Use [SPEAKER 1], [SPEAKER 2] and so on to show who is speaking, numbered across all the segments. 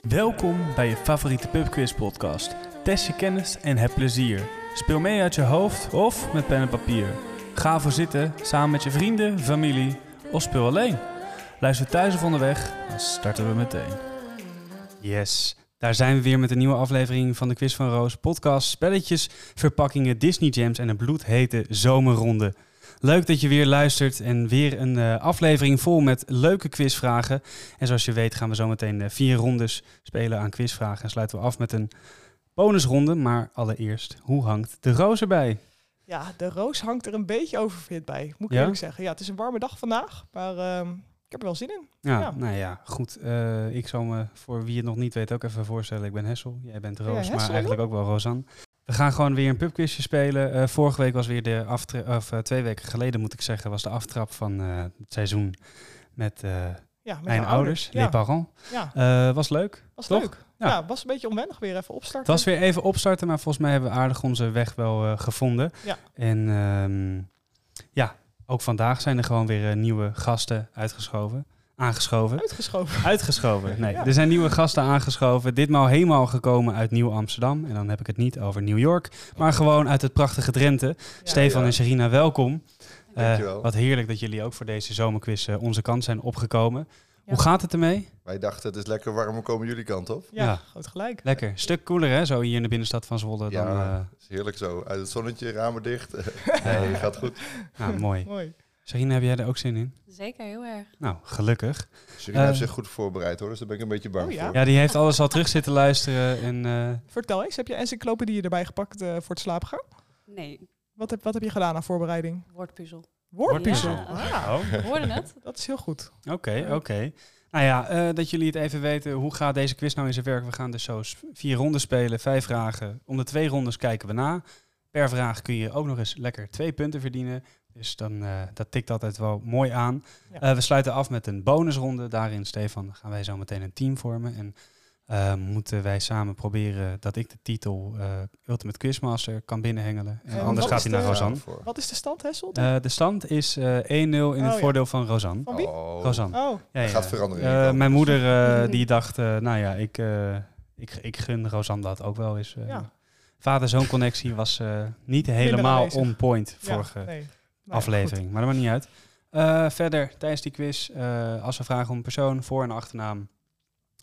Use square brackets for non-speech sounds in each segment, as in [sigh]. [SPEAKER 1] Welkom bij je favoriete pubquiz podcast. Test je kennis en heb plezier. Speel mee uit je hoofd of met pen en papier. Ga voor zitten samen met je vrienden, familie of speel alleen. Luister thuis of onderweg, dan starten we meteen. Yes, daar zijn we weer met een nieuwe aflevering van de Quiz van Roos podcast. Spelletjes, verpakkingen, Disney Jams en een bloedhete zomerronde. Leuk dat je weer luistert en weer een eh, aflevering vol met leuke quizvragen. En zoals je weet gaan we zometeen eh, vier rondes spelen aan quizvragen. En sluiten we af met een bonusronde. Maar allereerst, hoe hangt de roos erbij?
[SPEAKER 2] Ja, de roos hangt er een beetje overfit bij, moet ik
[SPEAKER 1] Ja?
[SPEAKER 2] eerlijk zeggen. Ja, het is een warme dag vandaag, maar ehm, ik heb er wel zin in.
[SPEAKER 1] Ja,
[SPEAKER 2] Ja.
[SPEAKER 1] nou ja, goed. Eh, ik zal me voor wie het nog niet weet ook even voorstellen. Ik ben Hessel, jij bent
[SPEAKER 2] jij
[SPEAKER 1] Roos, maar
[SPEAKER 2] Hessel
[SPEAKER 1] eigenlijk ook wel Rosanne. We gaan gewoon weer een pubquizje spelen. Eh, vorige week was weer de aftrap, of eh, twee weken geleden moet ik zeggen, was de aftrap van eh, het seizoen met, eh,
[SPEAKER 2] Ja, met
[SPEAKER 1] mijn
[SPEAKER 2] haar
[SPEAKER 1] ouders,
[SPEAKER 2] Ja,
[SPEAKER 1] les parents.
[SPEAKER 2] ja,
[SPEAKER 1] Eh, was leuk.
[SPEAKER 2] was
[SPEAKER 1] toch?
[SPEAKER 2] leuk.
[SPEAKER 1] Ja.
[SPEAKER 2] Ja. was een beetje onwennig weer even
[SPEAKER 1] Het
[SPEAKER 2] opstarten.
[SPEAKER 1] was weer even opstarten, maar volgens mij hebben we aardig onze weg wel eh, gevonden.
[SPEAKER 2] Ja.
[SPEAKER 1] En ehm, ja, ook vandaag zijn er gewoon weer eh, nieuwe gasten uitgeschoven. Aangeschoven.
[SPEAKER 2] uitgeschoven.
[SPEAKER 3] [laughs]
[SPEAKER 1] Uitgeschoven. Nee,
[SPEAKER 2] Ja.
[SPEAKER 1] er zijn nieuwe gasten aangeschoven. Ditmaal helemaal gekomen uit Nieuw Amsterdam. En dan heb ik het niet over New York, maar gewoon uit het prachtige Drenthe. Stefan
[SPEAKER 3] ja.
[SPEAKER 1] en Serena, welkom. Eh,
[SPEAKER 3] Dankjewel.
[SPEAKER 1] wat heerlijk dat jullie ook voor deze zomerquiz eh, onze kant zijn opgekomen.
[SPEAKER 2] Ja.
[SPEAKER 1] Hoe gaat het ermee?
[SPEAKER 3] Wij dachten, het is lekker warm, we komen jullie kant op.
[SPEAKER 2] Ja,
[SPEAKER 1] Ja.
[SPEAKER 2] groot gelijk.
[SPEAKER 1] Lekker. Stuk cooler hè, zo hier in de binnenstad van Zwolle
[SPEAKER 3] Ja.
[SPEAKER 1] dan... eh,
[SPEAKER 3] Het is heerlijk zo, uit het zonnetje, ramen dicht. [laughs]
[SPEAKER 1] Ja.
[SPEAKER 3] nee, gaat goed.
[SPEAKER 1] eh, [laughs] nou, mooi.
[SPEAKER 2] Mooi.
[SPEAKER 1] Sarine, heb jij er ook zin in?
[SPEAKER 4] Zeker, heel erg.
[SPEAKER 1] Nou, gelukkig.
[SPEAKER 3] Serena
[SPEAKER 1] Eh.
[SPEAKER 3] heeft zich goed voorbereid hoor, dus daar ben ik een beetje bang
[SPEAKER 2] Oh, ja?
[SPEAKER 3] voor.
[SPEAKER 1] Ja, die heeft alles al terug zitten luisteren. En, eh,
[SPEAKER 2] Vertel eens, heb je encyclopedieën erbij gepakt eh, voor het slapen gaan?
[SPEAKER 4] Nee,
[SPEAKER 2] Wat heb, wat heb je gedaan aan voorbereiding?
[SPEAKER 1] [laughs]
[SPEAKER 4] woordpuzzel.
[SPEAKER 2] Woordpuzzel.
[SPEAKER 4] Ja.
[SPEAKER 2] Ah,
[SPEAKER 3] Nou.
[SPEAKER 1] oh, oké,
[SPEAKER 4] We Hoorden het?
[SPEAKER 2] dat is heel goed.
[SPEAKER 1] oké. Nou ja, eh, dat jullie het even weten. Hoe gaat deze quiz nou in zijn werk? We gaan dus zo s- vier ronden spelen, vijf vragen. Om de twee rondes kijken we na. Per vraag kun je ook nog eens lekker twee punten verdienen. Dus dan, eh, dat tikt altijd wel mooi aan.
[SPEAKER 2] Ja.
[SPEAKER 1] Eh, we sluiten af met een bonusronde. Daarin, Stefan, gaan wij zo meteen een team vormen. En eh, moeten wij samen proberen dat ik de titel eh, Ultimate Quizmaster kan binnenhengelen. En
[SPEAKER 2] En
[SPEAKER 1] anders
[SPEAKER 2] wat
[SPEAKER 1] gaat
[SPEAKER 2] is
[SPEAKER 1] hij naar
[SPEAKER 2] de-
[SPEAKER 1] Rosanne.
[SPEAKER 3] Voor.
[SPEAKER 2] Wat is de stand, Hessel?
[SPEAKER 1] Eh, de stand is eh, 1-0 in
[SPEAKER 2] Oh,
[SPEAKER 1] het
[SPEAKER 2] ja.
[SPEAKER 1] voordeel van Rosanne.
[SPEAKER 2] Van wie?
[SPEAKER 3] Oh.
[SPEAKER 1] Rosanne.
[SPEAKER 2] Oh,
[SPEAKER 1] Ja,
[SPEAKER 3] Dat
[SPEAKER 1] ja.
[SPEAKER 3] gaat veranderen.
[SPEAKER 1] Eh,
[SPEAKER 3] Rico.
[SPEAKER 1] mijn moeder
[SPEAKER 2] [laughs]
[SPEAKER 1] eh, die dacht, eh, nou ja, ik, eh, ik, ik gun Rosanne dat ook wel eens. eh.
[SPEAKER 2] ja.
[SPEAKER 1] Vader-zoon connectie was eh, niet helemaal
[SPEAKER 2] aanwezig.
[SPEAKER 1] on point
[SPEAKER 2] Ja,
[SPEAKER 1] vorige
[SPEAKER 2] nee. Nou ja,
[SPEAKER 1] aflevering, maar dat maakt niet uit. Eh, verder, tijdens die quiz, eh, als we vragen om een persoon, voor- en achternaam.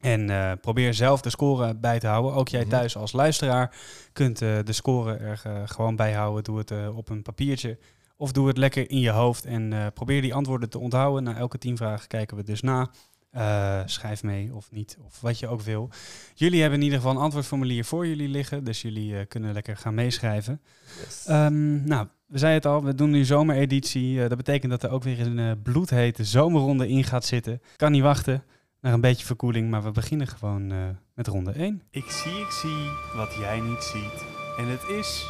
[SPEAKER 1] En eh, probeer zelf de score bij te houden. Ook jij
[SPEAKER 3] Mhm.
[SPEAKER 1] thuis als luisteraar kunt eh, de score er eh, gewoon bij houden. Doe het eh, op een papiertje of doe het lekker in je hoofd. En eh, probeer die antwoorden te onthouden. Na elke tien vragen kijken we dus na. Eh, schrijf mee of niet, of wat je ook wil. Jullie hebben in ieder geval een antwoordformulier voor jullie liggen. Dus jullie eh, kunnen lekker gaan meeschrijven.
[SPEAKER 3] Yes.
[SPEAKER 1] Ehm, nou, we zeiden het al, we doen nu zomereditie. Eh, dat betekent dat er ook weer een eh, bloedhete zomerronde in gaat zitten. Kan niet wachten naar een beetje verkoeling, maar we beginnen gewoon eh, met ronde 1. Ik zie, ik zie wat jij niet ziet. En het is...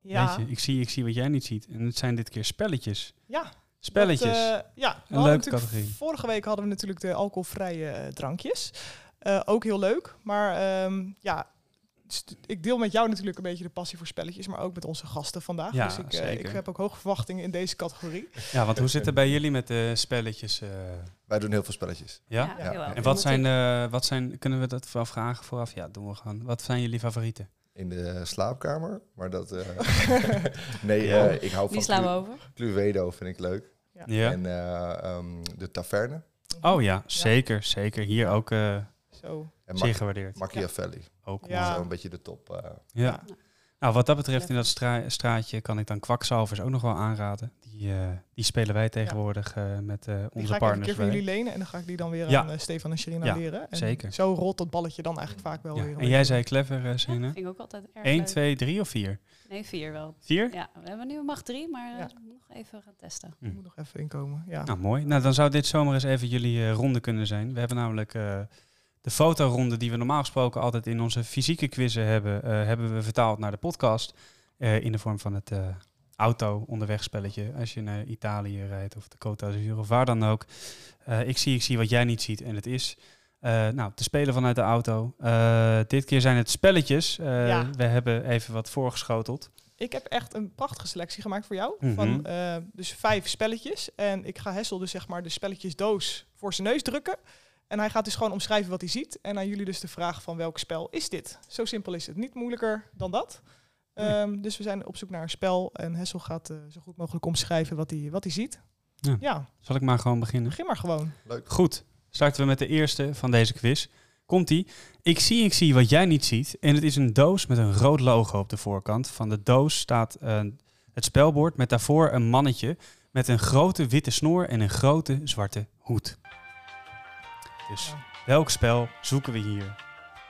[SPEAKER 2] Ja,
[SPEAKER 1] Weet je, ik zie, ik zie wat jij niet ziet. En het zijn dit keer spelletjes.
[SPEAKER 2] ja.
[SPEAKER 1] Spelletjes.
[SPEAKER 2] Dat, eh, ja, we
[SPEAKER 1] Een
[SPEAKER 2] hadden
[SPEAKER 1] leuke
[SPEAKER 2] natuurlijk-
[SPEAKER 1] categorie.
[SPEAKER 2] Vorige week hadden we natuurlijk de alcoholvrije eh, drankjes. Eh, ook heel leuk. Maar ehm, ja, st- ik deel met jou natuurlijk een beetje de passie voor spelletjes, maar ook met onze gasten vandaag.
[SPEAKER 1] Ja,
[SPEAKER 2] dus ik, eh,
[SPEAKER 1] zeker.
[SPEAKER 2] ik heb ook hoge verwachtingen in deze categorie.
[SPEAKER 1] Ja, want hoe zit het bij jullie met de spelletjes? eh,
[SPEAKER 3] Wij doen heel veel spelletjes.
[SPEAKER 1] ja?
[SPEAKER 3] Ja.
[SPEAKER 4] heel erg.
[SPEAKER 1] En wat zijn,
[SPEAKER 4] Omdat
[SPEAKER 1] eh, wat zijn, kunnen we dat wel vragen vooraf? Ja, doen we gewoon. Wat zijn jullie favorieten?
[SPEAKER 3] In de slaapkamer, maar dat... eh,
[SPEAKER 2] [laughs]
[SPEAKER 3] nee,
[SPEAKER 1] Ja.
[SPEAKER 3] eh, ik hou
[SPEAKER 4] ik-
[SPEAKER 3] van
[SPEAKER 4] Die slaan we
[SPEAKER 3] Clu-
[SPEAKER 4] over.
[SPEAKER 3] Cluedo, vind ik leuk.
[SPEAKER 2] Ja.
[SPEAKER 1] Ja.
[SPEAKER 3] En eh, ehm, de taverne
[SPEAKER 1] Oh ja, zeker, zeker. Hier ook eh
[SPEAKER 2] Zo.
[SPEAKER 3] en
[SPEAKER 1] zeer
[SPEAKER 3] Mach-
[SPEAKER 1] gewaardeerd.
[SPEAKER 3] Machiavelli.
[SPEAKER 1] Ook
[SPEAKER 2] Ja.
[SPEAKER 3] Zo een beetje de top. eh.
[SPEAKER 1] Ja.
[SPEAKER 4] Ja.
[SPEAKER 1] Nou, wat dat betreft in dat stra- straatje kan ik dan kwakzalvers ook nog wel aanraden. Die, eh, die spelen wij tegenwoordig eh, met eh,
[SPEAKER 2] Die ga
[SPEAKER 1] onze
[SPEAKER 2] ik even een
[SPEAKER 1] partners.
[SPEAKER 2] keer van
[SPEAKER 1] bij.
[SPEAKER 2] jullie lenen en dan ga ik die dan weer
[SPEAKER 1] Ja.
[SPEAKER 2] aan eh, Stefan en Sherina
[SPEAKER 1] Ja,
[SPEAKER 2] leren. En
[SPEAKER 1] zeker.
[SPEAKER 2] Zo rolt dat balletje dan eigenlijk vaak wel
[SPEAKER 1] Ja.
[SPEAKER 2] weer.
[SPEAKER 1] En jij zei clever, eh Sine.
[SPEAKER 4] Vind ik ook altijd erg
[SPEAKER 1] 1,
[SPEAKER 4] leuk.
[SPEAKER 1] 2, 3 of 4?
[SPEAKER 4] Nee, vier wel.
[SPEAKER 1] 4?
[SPEAKER 4] Ja, we hebben nu mag drie, maar eh,
[SPEAKER 2] Ja.
[SPEAKER 4] we moeten nog even gaan testen.
[SPEAKER 2] Ik moet nog even inkomen. Ja.
[SPEAKER 1] Nou, mooi. Nou, dan zou dit zomaar eens even jullie eh, ronde kunnen zijn. We hebben namelijk eh, de fotoronde die we normaal gesproken altijd in onze fysieke quizzen hebben, eh, hebben we vertaald naar de podcast. eh, in de vorm van het eh, auto-onderwegspelletje. Als je naar Italië rijdt of de Côte d'Azur of waar dan ook. Eh, ik zie, ik zie wat jij niet ziet en het is... eh, nou, te spelen vanuit de auto. Eh, dit keer zijn het spelletjes. Eh,
[SPEAKER 2] Ja.
[SPEAKER 1] We hebben even wat voorgeschoteld.
[SPEAKER 2] Ik heb echt een prachtige selectie gemaakt voor jou.
[SPEAKER 1] Mhm.
[SPEAKER 2] Van eh, dus vijf spelletjes. En ik ga Hessel dus zeg maar de spelletjesdoos voor zijn neus drukken. En hij gaat dus gewoon omschrijven wat hij ziet. En aan jullie dus de vraag van welk spel is dit? Zo simpel is het. Niet moeilijker dan dat.
[SPEAKER 1] Nee.
[SPEAKER 2] Ehm, dus we zijn op zoek naar een spel. En Hessel gaat eh, zo goed mogelijk omschrijven wat hij, wat hij ziet.
[SPEAKER 1] Ja.
[SPEAKER 2] ja,
[SPEAKER 1] Zal ik maar gewoon beginnen?
[SPEAKER 2] begin maar gewoon. [laughs]
[SPEAKER 3] Leuk.
[SPEAKER 1] Goed, starten we met de eerste van deze quiz. Komt-ie. Ik zie, ik zie wat jij niet ziet. En het is een doos met een rood logo op de voorkant. Van de doos staat eh, het spelbord met daarvoor een mannetje met een grote witte snor en een grote zwarte hoed. Dus
[SPEAKER 2] Ja.
[SPEAKER 1] welk spel zoeken we hier?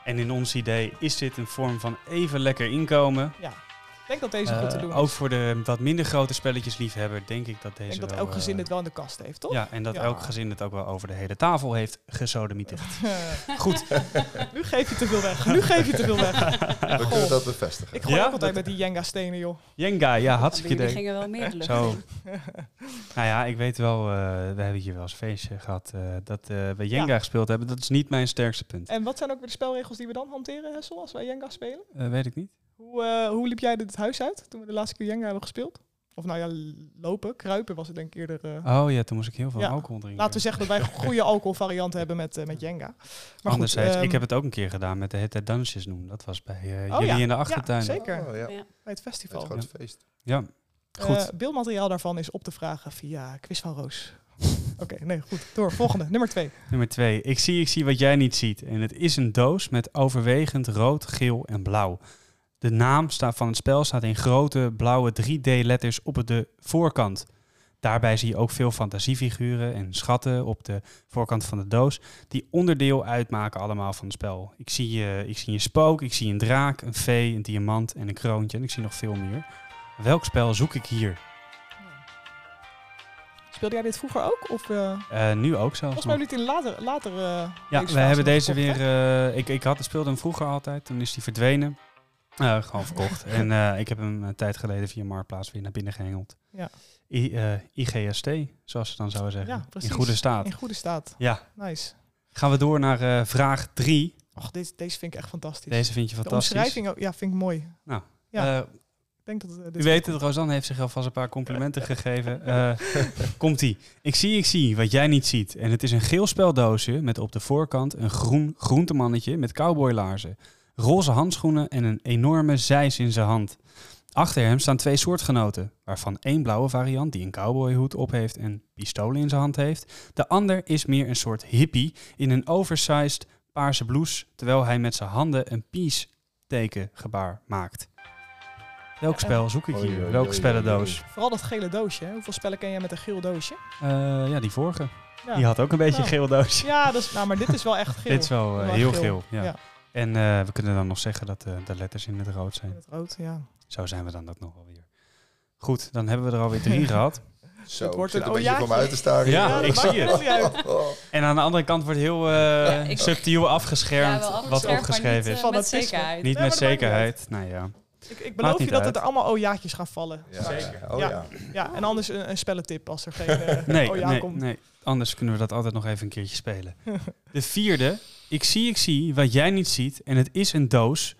[SPEAKER 1] En in ons idee is dit een vorm van even lekker inkomen.
[SPEAKER 2] Ja, ik denk dat deze goed te
[SPEAKER 1] Eh,
[SPEAKER 2] doen
[SPEAKER 1] ook
[SPEAKER 2] is.
[SPEAKER 1] voor de wat minder grote spelletjes liefhebber, denk ik dat deze
[SPEAKER 2] Ik denk dat
[SPEAKER 1] wel,
[SPEAKER 2] elk
[SPEAKER 1] eh,
[SPEAKER 2] gezin dit wel in de kast heeft, toch?
[SPEAKER 1] ja, en dat
[SPEAKER 2] Ja.
[SPEAKER 1] elk gezin het ook wel over de hele tafel heeft gesodemieterd. Goed.
[SPEAKER 2] nu geef je te veel weg. Nu geef je te veel weg.
[SPEAKER 1] [laughs]
[SPEAKER 3] We
[SPEAKER 2] Goh.
[SPEAKER 3] kunnen dat
[SPEAKER 2] [laughs]
[SPEAKER 3] bevestigen.
[SPEAKER 2] Ik gooi
[SPEAKER 1] Ja?
[SPEAKER 2] ook altijd met die Jenga-stenen, joh.
[SPEAKER 1] Jenga, ja, hartstikke
[SPEAKER 4] jullie
[SPEAKER 1] idee.
[SPEAKER 4] gingen wel meer de lucht
[SPEAKER 1] Zo.
[SPEAKER 4] in.
[SPEAKER 2] [laughs]
[SPEAKER 1] Nou ja, ik weet wel, eh, we hebben hier wel eens een feestje gehad eh, dat eh, we Jenga gespeeld hebben. Dat is niet mijn sterkste punt.
[SPEAKER 2] En wat zijn ook weer de spelregels die we dan hanteren, Hessel, als wij Jenga spelen?
[SPEAKER 1] Eh, weet ik niet.
[SPEAKER 2] Hoe, eh, hoe liep jij dit huis uit toen we de laatste keer Jenga hebben gespeeld? Of nou ja, l- lopen, kruipen was het denk ik eerder. eh.
[SPEAKER 1] Oh ja, toen moest ik heel veel
[SPEAKER 2] Ja.
[SPEAKER 1] alcohol drinken.
[SPEAKER 2] Laten we zeggen dat wij
[SPEAKER 1] [laughs]
[SPEAKER 2] goede alcoholvarianten hebben met, eh, met Jenga. Maar
[SPEAKER 1] Anders
[SPEAKER 2] goed,
[SPEAKER 1] heeft,
[SPEAKER 2] ehm,
[SPEAKER 1] ik heb het ook een keer gedaan met de hele tijd dansjes doen. Dat was bij eh,
[SPEAKER 2] Oh
[SPEAKER 1] jullie
[SPEAKER 2] ja,
[SPEAKER 1] in de
[SPEAKER 2] ja,
[SPEAKER 1] achtertuin.
[SPEAKER 2] zeker.
[SPEAKER 3] Oh, ja. Met
[SPEAKER 2] bij het
[SPEAKER 3] Het
[SPEAKER 2] festival.
[SPEAKER 3] grote feest.
[SPEAKER 1] Ja, goed.
[SPEAKER 2] Eh, beeldmateriaal daarvan is op te vragen via Quiz van Roos. [laughs] Oké, nee, goed. Door. Volgende, nummer twee.
[SPEAKER 1] Nummer 2. Ik zie, ik zie wat jij niet ziet. En het is een doos met overwegend rood, geel en blauw. De naam staat van het spel staat in grote blauwe 3D-letters op de voorkant. Daarbij zie je ook veel fantasiefiguren en schatten op de voorkant van de doos. Die onderdeel uitmaken allemaal van het spel. Ik zie, eh ik zie een spook, ik zie een draak, een vee, een diamant en een kroontje. En ik zie nog veel meer. Welk spel zoek ik hier?
[SPEAKER 2] Speelde jij dit vroeger ook? Of, eh
[SPEAKER 1] Eh, nu ook zelfs
[SPEAKER 2] volgens
[SPEAKER 1] nog.
[SPEAKER 2] mij hebben jullie het in later... later eh,
[SPEAKER 1] Ja, we
[SPEAKER 2] levensfase
[SPEAKER 1] hebben deze
[SPEAKER 2] gekocht,
[SPEAKER 1] weer.
[SPEAKER 2] hè?
[SPEAKER 1] eh, ik ik had, speelde hem vroeger altijd. Toen is hij verdwenen. Eh, gewoon
[SPEAKER 2] [laughs]
[SPEAKER 1] verkocht. en eh, ik heb hem een tijd geleden via Marktplaats weer naar binnen gehengeld.
[SPEAKER 2] Ja.
[SPEAKER 1] I, eh, IGST, zoals ze dan zouden zeggen.
[SPEAKER 2] Ja, precies.
[SPEAKER 1] In goede staat.
[SPEAKER 2] In goede staat.
[SPEAKER 1] Ja.
[SPEAKER 2] Nice.
[SPEAKER 1] Gaan we door naar eh, vraag 3.
[SPEAKER 2] Och, deze, deze vind ik echt fantastisch.
[SPEAKER 1] Deze vind je
[SPEAKER 2] de
[SPEAKER 1] fantastisch.
[SPEAKER 2] omschrijving ook- ja, vind ik mooi. ja.
[SPEAKER 1] Eh,
[SPEAKER 2] Ik denk dat, eh, dit
[SPEAKER 1] U weet het, Rosanne heeft zich alvast een paar complimenten gegeven. Eh, Komt-ie. Ik zie, ik zie wat jij niet ziet. En het is een geel speldoosje met op de voorkant een groen groentemannetje met cowboylaarzen, roze handschoenen en een enorme zeis in zijn hand. Achter hem staan twee soortgenoten, waarvan één blauwe variant die een cowboyhoed op heeft en pistolen in zijn hand heeft. De ander is meer een soort hippie in een oversized paarse blouse, terwijl hij met zijn handen een peace tekengebaar maakt. Welk spel zoek ik
[SPEAKER 3] Oei, oei,
[SPEAKER 1] hier?
[SPEAKER 3] oei,
[SPEAKER 1] Welke
[SPEAKER 3] oei,
[SPEAKER 1] spellendoos?
[SPEAKER 3] oei.
[SPEAKER 2] Vooral dat gele doosje. Hè? Hoeveel spellen ken jij met een geel doosje?
[SPEAKER 1] Eh, ja, die vorige.
[SPEAKER 2] Ja,
[SPEAKER 1] Die had ook een beetje
[SPEAKER 2] Nou.
[SPEAKER 1] geel doosje.
[SPEAKER 2] ja dat is, nou, maar dit is wel echt
[SPEAKER 1] [laughs]
[SPEAKER 2] geel.
[SPEAKER 1] Dit is wel eh,
[SPEAKER 2] Heel erg
[SPEAKER 1] heel
[SPEAKER 2] geel.
[SPEAKER 1] geel. ja.
[SPEAKER 2] Ja.
[SPEAKER 1] En eh, we kunnen dan nog zeggen dat eh, de letters in het rood
[SPEAKER 2] In
[SPEAKER 1] zijn.
[SPEAKER 2] het rood, ja.
[SPEAKER 1] Zo zijn we dan ook nog wel weer. Goed, dan hebben we er alweer [laughs] drie gehad.
[SPEAKER 3] Zo,
[SPEAKER 2] Het
[SPEAKER 3] het
[SPEAKER 2] wordt
[SPEAKER 3] wordt zit
[SPEAKER 2] een
[SPEAKER 3] een beetje voor
[SPEAKER 2] ojaatje.
[SPEAKER 3] me uit te staren.
[SPEAKER 1] Ja,
[SPEAKER 3] hier.
[SPEAKER 1] ik
[SPEAKER 2] dat
[SPEAKER 1] zie
[SPEAKER 2] maakt
[SPEAKER 1] het.
[SPEAKER 2] echt niet uit.
[SPEAKER 3] [laughs] Oh,
[SPEAKER 1] En aan de andere kant wordt heel eh,
[SPEAKER 4] ik-
[SPEAKER 1] subtiel
[SPEAKER 4] Ja,
[SPEAKER 1] afgeschermd
[SPEAKER 4] wel
[SPEAKER 1] wat
[SPEAKER 4] afgeschermd, maar
[SPEAKER 1] opgeschreven
[SPEAKER 4] niet, eh,
[SPEAKER 1] is.
[SPEAKER 2] Van
[SPEAKER 4] met
[SPEAKER 2] het is-
[SPEAKER 4] zekerheid.
[SPEAKER 1] Niet
[SPEAKER 2] Nee, maar
[SPEAKER 1] met
[SPEAKER 2] dat maakt niet
[SPEAKER 1] zekerheid. Nou ja.
[SPEAKER 2] Ik, ik beloof
[SPEAKER 1] niet
[SPEAKER 2] je dat
[SPEAKER 1] uit.
[SPEAKER 2] het er allemaal ojaatjes gaan vallen.
[SPEAKER 3] ja.
[SPEAKER 1] Zeker.
[SPEAKER 3] Oh
[SPEAKER 2] Ja.
[SPEAKER 3] ja.
[SPEAKER 2] Ja, en anders een, een spellentip als er geen eh,
[SPEAKER 1] Nee,
[SPEAKER 2] oja
[SPEAKER 1] nee,
[SPEAKER 2] komt.
[SPEAKER 1] nee, anders kunnen we dat altijd nog even een keertje
[SPEAKER 2] [laughs]
[SPEAKER 1] spelen. De vierde. Ik zie, ik zie wat jij niet ziet. En het is een doos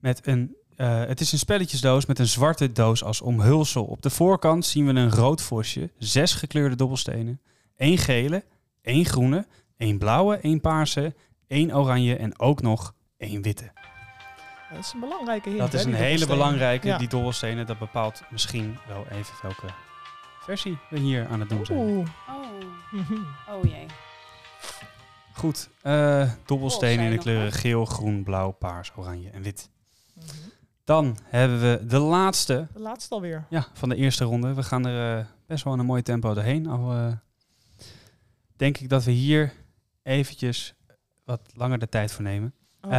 [SPEAKER 1] met een... eh, het is een spelletjesdoos met een zwarte doos als omhulsel. Op de voorkant zien we een rood vosje, zes gekleurde dobbelstenen, één gele, één groene, één blauwe, één paarse, één oranje en ook nog één witte.
[SPEAKER 2] Dat is een belangrijke hint.
[SPEAKER 1] Dat is
[SPEAKER 2] hè,
[SPEAKER 1] een
[SPEAKER 2] die
[SPEAKER 1] hele
[SPEAKER 2] dobbelstenen.
[SPEAKER 1] belangrijke,
[SPEAKER 2] Ja.
[SPEAKER 1] die dobbelstenen. Dat bepaalt misschien wel even welke versie we hier aan het doen zijn.
[SPEAKER 2] Oeh.
[SPEAKER 4] Oh,
[SPEAKER 2] Mhm.
[SPEAKER 4] oh jee.
[SPEAKER 1] Goed, eh
[SPEAKER 4] Oh,
[SPEAKER 1] dobbelstenen
[SPEAKER 4] zijn
[SPEAKER 1] in de
[SPEAKER 4] nog
[SPEAKER 1] kleuren
[SPEAKER 4] wat.
[SPEAKER 1] geel, groen, blauw, paars, oranje en wit.
[SPEAKER 2] Mhm.
[SPEAKER 1] Dan hebben we de laatste
[SPEAKER 2] De laatste alweer.
[SPEAKER 1] ja, van de eerste ronde. We gaan er eh, best wel in een mooi tempo doorheen. Al eh, denk ik dat we hier eventjes wat langer de tijd voor nemen.
[SPEAKER 2] Oh.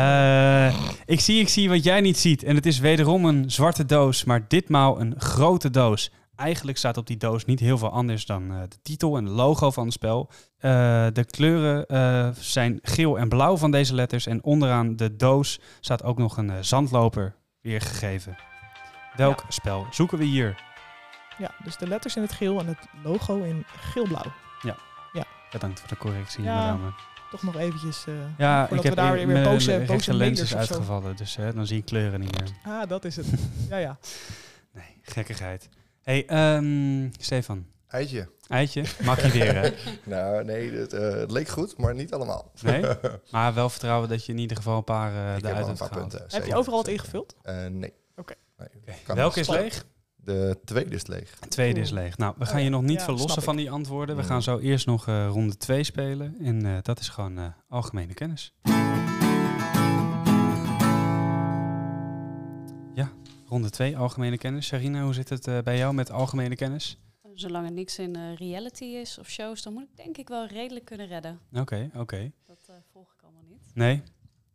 [SPEAKER 1] Eh, ik zie, ik zie wat jij niet ziet. En het is wederom een zwarte doos, maar ditmaal een grote doos. Eigenlijk staat op die doos niet heel veel anders dan eh, de titel en het logo van het spel. Eh, de kleuren eh, zijn geel en blauw van deze letters. En onderaan de doos staat ook nog een eh, zandloper weergegeven. Welk spel zoeken we hier?
[SPEAKER 2] Ja, dus de letters in het geel en het logo in geel-blauw.
[SPEAKER 1] Bedankt voor de correctie,
[SPEAKER 2] Ja.
[SPEAKER 1] madame.
[SPEAKER 2] Toch nog eventjes. eh,
[SPEAKER 1] Ja,
[SPEAKER 2] Voordat
[SPEAKER 1] ik heb
[SPEAKER 2] we daar weer
[SPEAKER 1] een- mijn
[SPEAKER 2] boze-
[SPEAKER 1] rechte
[SPEAKER 2] boze
[SPEAKER 1] lens
[SPEAKER 2] mailers
[SPEAKER 1] is
[SPEAKER 2] of zo.
[SPEAKER 1] uitgevallen. Dus hè, dan zie ik kleuren niet meer. [laughs]
[SPEAKER 2] ah, dat is het. Ja, ja.
[SPEAKER 1] Nee, gekkigheid. hey, ehm, Stefan,
[SPEAKER 3] Eitje.
[SPEAKER 1] Eitje, maak je weer
[SPEAKER 3] [laughs]
[SPEAKER 1] hè?
[SPEAKER 3] Nou, nee, het, eh, het leek goed, maar niet allemaal.
[SPEAKER 1] Nee? Maar wel vertrouwen dat je in ieder geval een paar eh
[SPEAKER 3] ik heb
[SPEAKER 1] eruit
[SPEAKER 3] wel een
[SPEAKER 1] hebt
[SPEAKER 3] paar
[SPEAKER 1] gehaald.
[SPEAKER 3] punten.
[SPEAKER 2] Heb je
[SPEAKER 3] zeker,
[SPEAKER 2] overal wat
[SPEAKER 3] zeker.
[SPEAKER 2] ingevuld?
[SPEAKER 3] Eh, nee.
[SPEAKER 2] Oké.
[SPEAKER 3] Nee,
[SPEAKER 1] Oké,
[SPEAKER 3] kan
[SPEAKER 1] Welke
[SPEAKER 3] niet.
[SPEAKER 1] is leeg?
[SPEAKER 3] De tweede is leeg.
[SPEAKER 1] De tweede is leeg. Nou, we
[SPEAKER 3] Oh
[SPEAKER 1] gaan je nog niet
[SPEAKER 2] Ja, snap
[SPEAKER 1] verlossen
[SPEAKER 2] ik.
[SPEAKER 1] van die antwoorden. We
[SPEAKER 3] Mm.
[SPEAKER 1] gaan zo eerst nog eh, ronde 2 spelen. En eh, dat is gewoon eh, algemene kennis. Ja, ronde 2, algemene kennis. Sarina, hoe zit het eh, bij jou met algemene kennis?
[SPEAKER 4] Zolang er niks in eh, reality is of shows, dan moet ik denk ik wel redelijk kunnen redden.
[SPEAKER 1] Oké, oké.
[SPEAKER 4] Dat eh, volg ik allemaal niet.
[SPEAKER 1] Nee,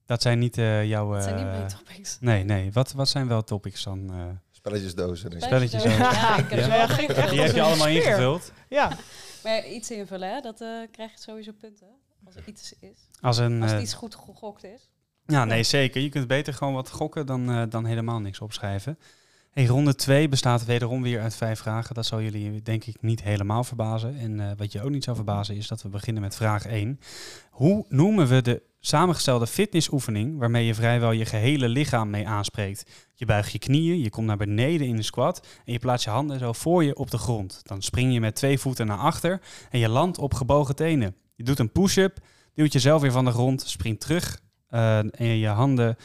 [SPEAKER 1] dat zijn niet eh, jouw...
[SPEAKER 4] Dat zijn niet
[SPEAKER 1] eh,
[SPEAKER 4] mijn topics.
[SPEAKER 1] Nee, nee. Wat, wat zijn wel topics dan? eh?
[SPEAKER 3] Spelletjesdozen. en zo.
[SPEAKER 1] Spelletjes
[SPEAKER 4] Spelletjes
[SPEAKER 2] ook.
[SPEAKER 4] ook. Ja, ik heb
[SPEAKER 1] Ja.
[SPEAKER 4] ze wel
[SPEAKER 2] Die
[SPEAKER 4] ingevuld.
[SPEAKER 1] die heb je allemaal
[SPEAKER 2] sfeer.
[SPEAKER 1] ingevuld.
[SPEAKER 2] Ja,
[SPEAKER 4] Maar iets invullen, hè, dat eh krijg je sowieso punten. Als er iets is.
[SPEAKER 1] Als een...
[SPEAKER 4] Als
[SPEAKER 1] eh,
[SPEAKER 4] het iets goed gegokt is.
[SPEAKER 1] Ja, nee, zeker. Je kunt beter gewoon wat gokken dan, eh, dan helemaal niks opschrijven. Hey, ronde 2 bestaat wederom weer uit vijf vragen. Dat zal jullie denk ik niet helemaal verbazen. En eh, wat je ook niet zou verbazen is dat we beginnen met vraag 1. Hoe noemen we de samengestelde fitnessoefening waarmee je vrijwel je gehele lichaam mee aanspreekt? Je buigt je knieën, je komt naar beneden in de squat en je plaatst je handen zo voor je op de grond. Dan spring je met twee voeten naar achter en je landt op gebogen tenen. Je doet een push-up, duwt jezelf weer van de grond, springt terug eh, en je handen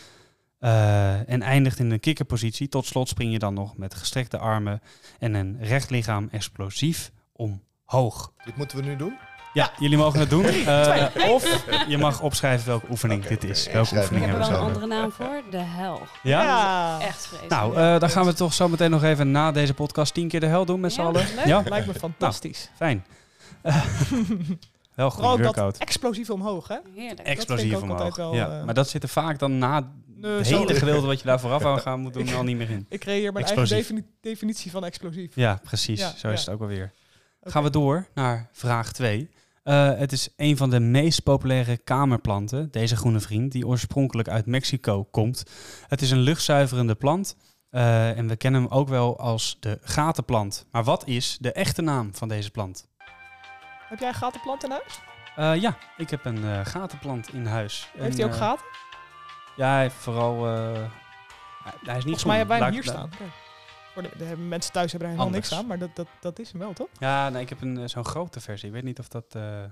[SPEAKER 1] eh, en eindigt in een kikkerpositie. Tot slot spring je dan nog met gestrekte armen en een recht lichaam explosief omhoog.
[SPEAKER 3] Dit moeten we nu doen?
[SPEAKER 1] Ja, jullie mogen het doen. Eh, of je mag opschrijven welke oefening
[SPEAKER 3] Oké,
[SPEAKER 1] dit is.
[SPEAKER 3] oké,
[SPEAKER 1] welke
[SPEAKER 3] schrijf
[SPEAKER 1] oefening
[SPEAKER 4] Ik heb er
[SPEAKER 1] hebben
[SPEAKER 4] wel
[SPEAKER 1] we
[SPEAKER 3] zo.
[SPEAKER 4] een
[SPEAKER 1] zo?
[SPEAKER 4] andere naam voor. De hel.
[SPEAKER 1] Ja?
[SPEAKER 2] ja.
[SPEAKER 4] Echt vreselijk.
[SPEAKER 1] Nou, eh dan gaan we toch zo meteen nog even na deze podcast tien keer de hel doen met z'n
[SPEAKER 4] Ja,
[SPEAKER 1] allen.
[SPEAKER 4] leuk.
[SPEAKER 1] Ja,
[SPEAKER 2] lijkt me fantastisch.
[SPEAKER 1] fijn.
[SPEAKER 2] [laughs]
[SPEAKER 1] Eh, wel goed
[SPEAKER 2] Vooral Oh, dat
[SPEAKER 1] workout.
[SPEAKER 2] explosief omhoog, hè?
[SPEAKER 4] Heerlijk.
[SPEAKER 1] Explosief
[SPEAKER 2] ook altijd
[SPEAKER 1] omhoog.
[SPEAKER 2] wel,
[SPEAKER 1] ja.
[SPEAKER 2] eh,
[SPEAKER 1] Maar dat zit er vaak dan na
[SPEAKER 2] Nee,
[SPEAKER 1] het
[SPEAKER 2] zo-
[SPEAKER 1] hele gedeelte wat je daar
[SPEAKER 2] [laughs]
[SPEAKER 1] vooraf aan gaan moet doen al niet meer in.
[SPEAKER 2] Ik creëer mijn
[SPEAKER 1] Explosief.
[SPEAKER 2] eigen defini- definitie van explosief.
[SPEAKER 1] Ja, precies.
[SPEAKER 2] Ja,
[SPEAKER 1] Zo
[SPEAKER 2] ja.
[SPEAKER 1] is het ook alweer.
[SPEAKER 2] Oké.
[SPEAKER 1] Gaan we door naar vraag 2. het is een van de meest populaire kamerplanten, deze groene vriend, die oorspronkelijk uit Mexico komt. Het is een luchtzuiverende plant eh, en we kennen hem ook wel als de gatenplant. Maar wat is de echte naam van deze plant?
[SPEAKER 2] Heb jij gatenplanten in huis?
[SPEAKER 1] Eh, ja, ik heb een eh, gatenplant in huis. En,
[SPEAKER 2] Heeft hij ook
[SPEAKER 1] eh,
[SPEAKER 2] gaten?
[SPEAKER 1] Ja, hij heeft vooral... eh, hij- hij is niet
[SPEAKER 2] Volgens mij hebben wij hem hier
[SPEAKER 1] staan.
[SPEAKER 2] staan. Kijk. Voor de, de mensen thuis hebben er helemaal
[SPEAKER 1] Anders.
[SPEAKER 2] niks aan, maar dat, dat, dat is hem wel, toch?
[SPEAKER 1] Ja, nee, ik heb een, eh, zo'n grote versie. Ik weet niet of dat eh,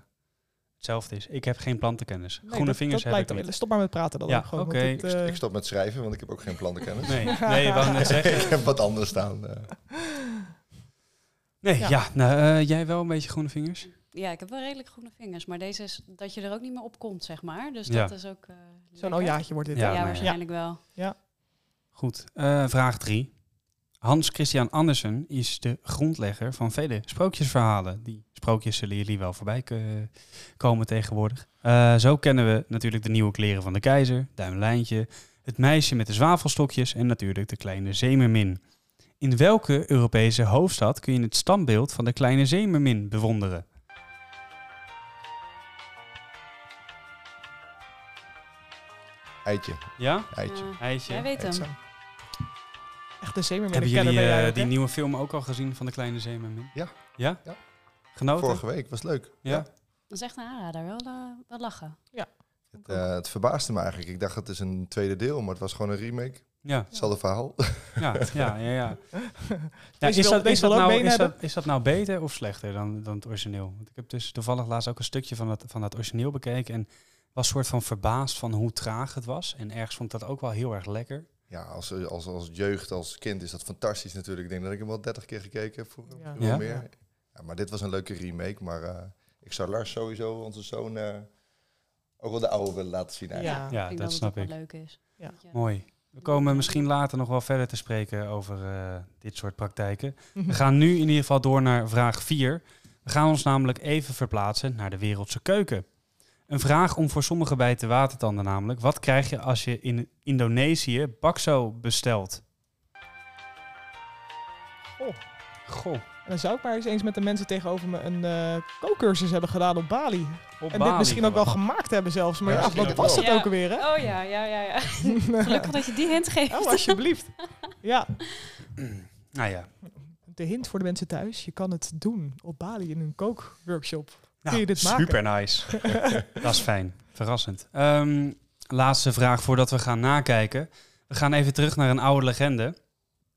[SPEAKER 1] hetzelfde is. Ik heb geen plantenkennis.
[SPEAKER 2] Nee,
[SPEAKER 1] Groene
[SPEAKER 2] dat-
[SPEAKER 1] vingers
[SPEAKER 2] dat
[SPEAKER 1] heb
[SPEAKER 2] lijkt
[SPEAKER 1] ik
[SPEAKER 2] me-
[SPEAKER 1] niet.
[SPEAKER 2] Stop maar met praten dan
[SPEAKER 1] Ja,
[SPEAKER 2] ook gewoon.
[SPEAKER 1] oké.
[SPEAKER 2] want het, eh,
[SPEAKER 3] Ik stop met schrijven, want ik heb ook geen plantenkennis.
[SPEAKER 1] Nee, nee,
[SPEAKER 2] [laughs]
[SPEAKER 1] wat net
[SPEAKER 3] [laughs] ik
[SPEAKER 1] zeggen.
[SPEAKER 3] heb wat anders staan. eh.
[SPEAKER 1] Nee, ja.
[SPEAKER 2] Ja.
[SPEAKER 1] nou, eh, jij wel een beetje groene vingers?
[SPEAKER 4] Ja, ik heb wel redelijk groene vingers. Maar deze is dat je er ook niet meer op komt, zeg maar. Dus
[SPEAKER 1] Ja.
[SPEAKER 4] dat is ook... eh,
[SPEAKER 2] Zo'n oh
[SPEAKER 4] lekker.
[SPEAKER 2] aljaatje wordt dit.
[SPEAKER 1] Ja,
[SPEAKER 4] Ja,
[SPEAKER 1] nee.
[SPEAKER 4] waarschijnlijk wel.
[SPEAKER 1] Goed. Eh, vraag 3. Hans Christian Andersen is de grondlegger van vele sprookjesverhalen. Die sprookjes zullen jullie wel voorbij ke- komen tegenwoordig. Eh, zo kennen we natuurlijk de nieuwe kleren van de keizer, Duimlijntje, het meisje met de zwavelstokjes en natuurlijk de kleine zeemermin. In welke Europese hoofdstad kun je het standbeeld van de kleine zeemermin bewonderen?
[SPEAKER 3] Eitje,
[SPEAKER 1] Ja?
[SPEAKER 3] eitje.
[SPEAKER 4] Eh,
[SPEAKER 1] IJsje.
[SPEAKER 4] jij weet hem.
[SPEAKER 2] Zo. Echt de zeemermin.
[SPEAKER 1] Hebben
[SPEAKER 2] kenner
[SPEAKER 1] jullie
[SPEAKER 2] ben jij
[SPEAKER 1] eh,
[SPEAKER 2] ook,
[SPEAKER 1] die
[SPEAKER 2] hè?
[SPEAKER 1] nieuwe film ook al gezien van de kleine zeemermin?
[SPEAKER 3] Ja.
[SPEAKER 1] Ja?
[SPEAKER 3] Ja.
[SPEAKER 1] Genoten?
[SPEAKER 3] Vorige week was leuk.
[SPEAKER 1] Ja.
[SPEAKER 4] Dat is echt een aanrader. Wel, eh, wel lachen.
[SPEAKER 3] Het, eh, het verbaasde me eigenlijk. Ik dacht het is een tweede deel, maar het was gewoon een remake.
[SPEAKER 1] Ja,
[SPEAKER 3] Hetzelfde verhaal.
[SPEAKER 1] ja, ja, ja. ja. ja
[SPEAKER 2] Deze
[SPEAKER 1] is,
[SPEAKER 2] wil-
[SPEAKER 1] dat, is,
[SPEAKER 2] deze
[SPEAKER 1] dat
[SPEAKER 2] wil ook
[SPEAKER 1] nou,
[SPEAKER 2] benen
[SPEAKER 1] is, dat,
[SPEAKER 2] hebben.
[SPEAKER 1] is dat nou beter of slechter dan, dan het origineel? Want ik heb dus toevallig laatst ook een stukje van dat, van dat origineel bekeken en was soort van verbaasd van hoe traag het was. En ergens vond ik dat ook wel heel erg lekker.
[SPEAKER 3] Ja, als, als, als jeugd, als kind is dat fantastisch natuurlijk. Ik denk dat ik hem wel 30 keer gekeken heb vroeger.
[SPEAKER 2] Ja.
[SPEAKER 3] wel
[SPEAKER 1] Ja?
[SPEAKER 3] meer. Ja, maar dit was een leuke remake. Maar eh, ik zou Lars sowieso, onze zoon, eh, ook wel de oude willen laten zien eigenlijk.
[SPEAKER 2] Ja.
[SPEAKER 1] Ja,
[SPEAKER 4] ik denk
[SPEAKER 1] dat
[SPEAKER 4] het
[SPEAKER 1] snap
[SPEAKER 4] ook
[SPEAKER 1] ik.
[SPEAKER 4] wel leuk is.
[SPEAKER 2] Ja.
[SPEAKER 4] Dat je-
[SPEAKER 1] Mooi. We komen misschien later nog wel verder te spreken over eh, dit soort praktijken.
[SPEAKER 2] Mhm.
[SPEAKER 1] We gaan nu in ieder geval door naar vraag 4. We gaan ons namelijk even verplaatsen naar de wereldse keuken. Een vraag om voor sommigen bij te watertanden namelijk. Wat krijg je als je in Indonesië bakso bestelt?
[SPEAKER 2] Goh.
[SPEAKER 1] Goh,
[SPEAKER 2] En dan zou ik maar eens eens met de mensen tegenover me een eh kookcursus hebben gedaan op Bali.
[SPEAKER 1] op
[SPEAKER 2] en dit
[SPEAKER 1] Bali
[SPEAKER 2] misschien ook wel
[SPEAKER 1] gewoon.
[SPEAKER 2] gemaakt hebben zelfs. Maar
[SPEAKER 3] Ja,
[SPEAKER 2] ja,
[SPEAKER 3] misschien
[SPEAKER 2] wat
[SPEAKER 3] ook
[SPEAKER 2] was
[SPEAKER 4] wel.
[SPEAKER 2] het
[SPEAKER 4] Ja.
[SPEAKER 2] ook alweer, hè?
[SPEAKER 4] Oh ja, ja,
[SPEAKER 1] [laughs]
[SPEAKER 4] ja, ja. Gelukkig dat je die hint geeft.
[SPEAKER 2] Oh, alsjeblieft. Ja,
[SPEAKER 1] Nou ja,
[SPEAKER 2] de hint voor de mensen thuis. Je kan het doen op Bali in een kookworkshop.
[SPEAKER 1] nou,
[SPEAKER 2] je dit maken?
[SPEAKER 1] super nice. [laughs] Dat is fijn, verrassend. Ehm, laatste vraag voordat we gaan nakijken. We gaan even terug naar een oude legende.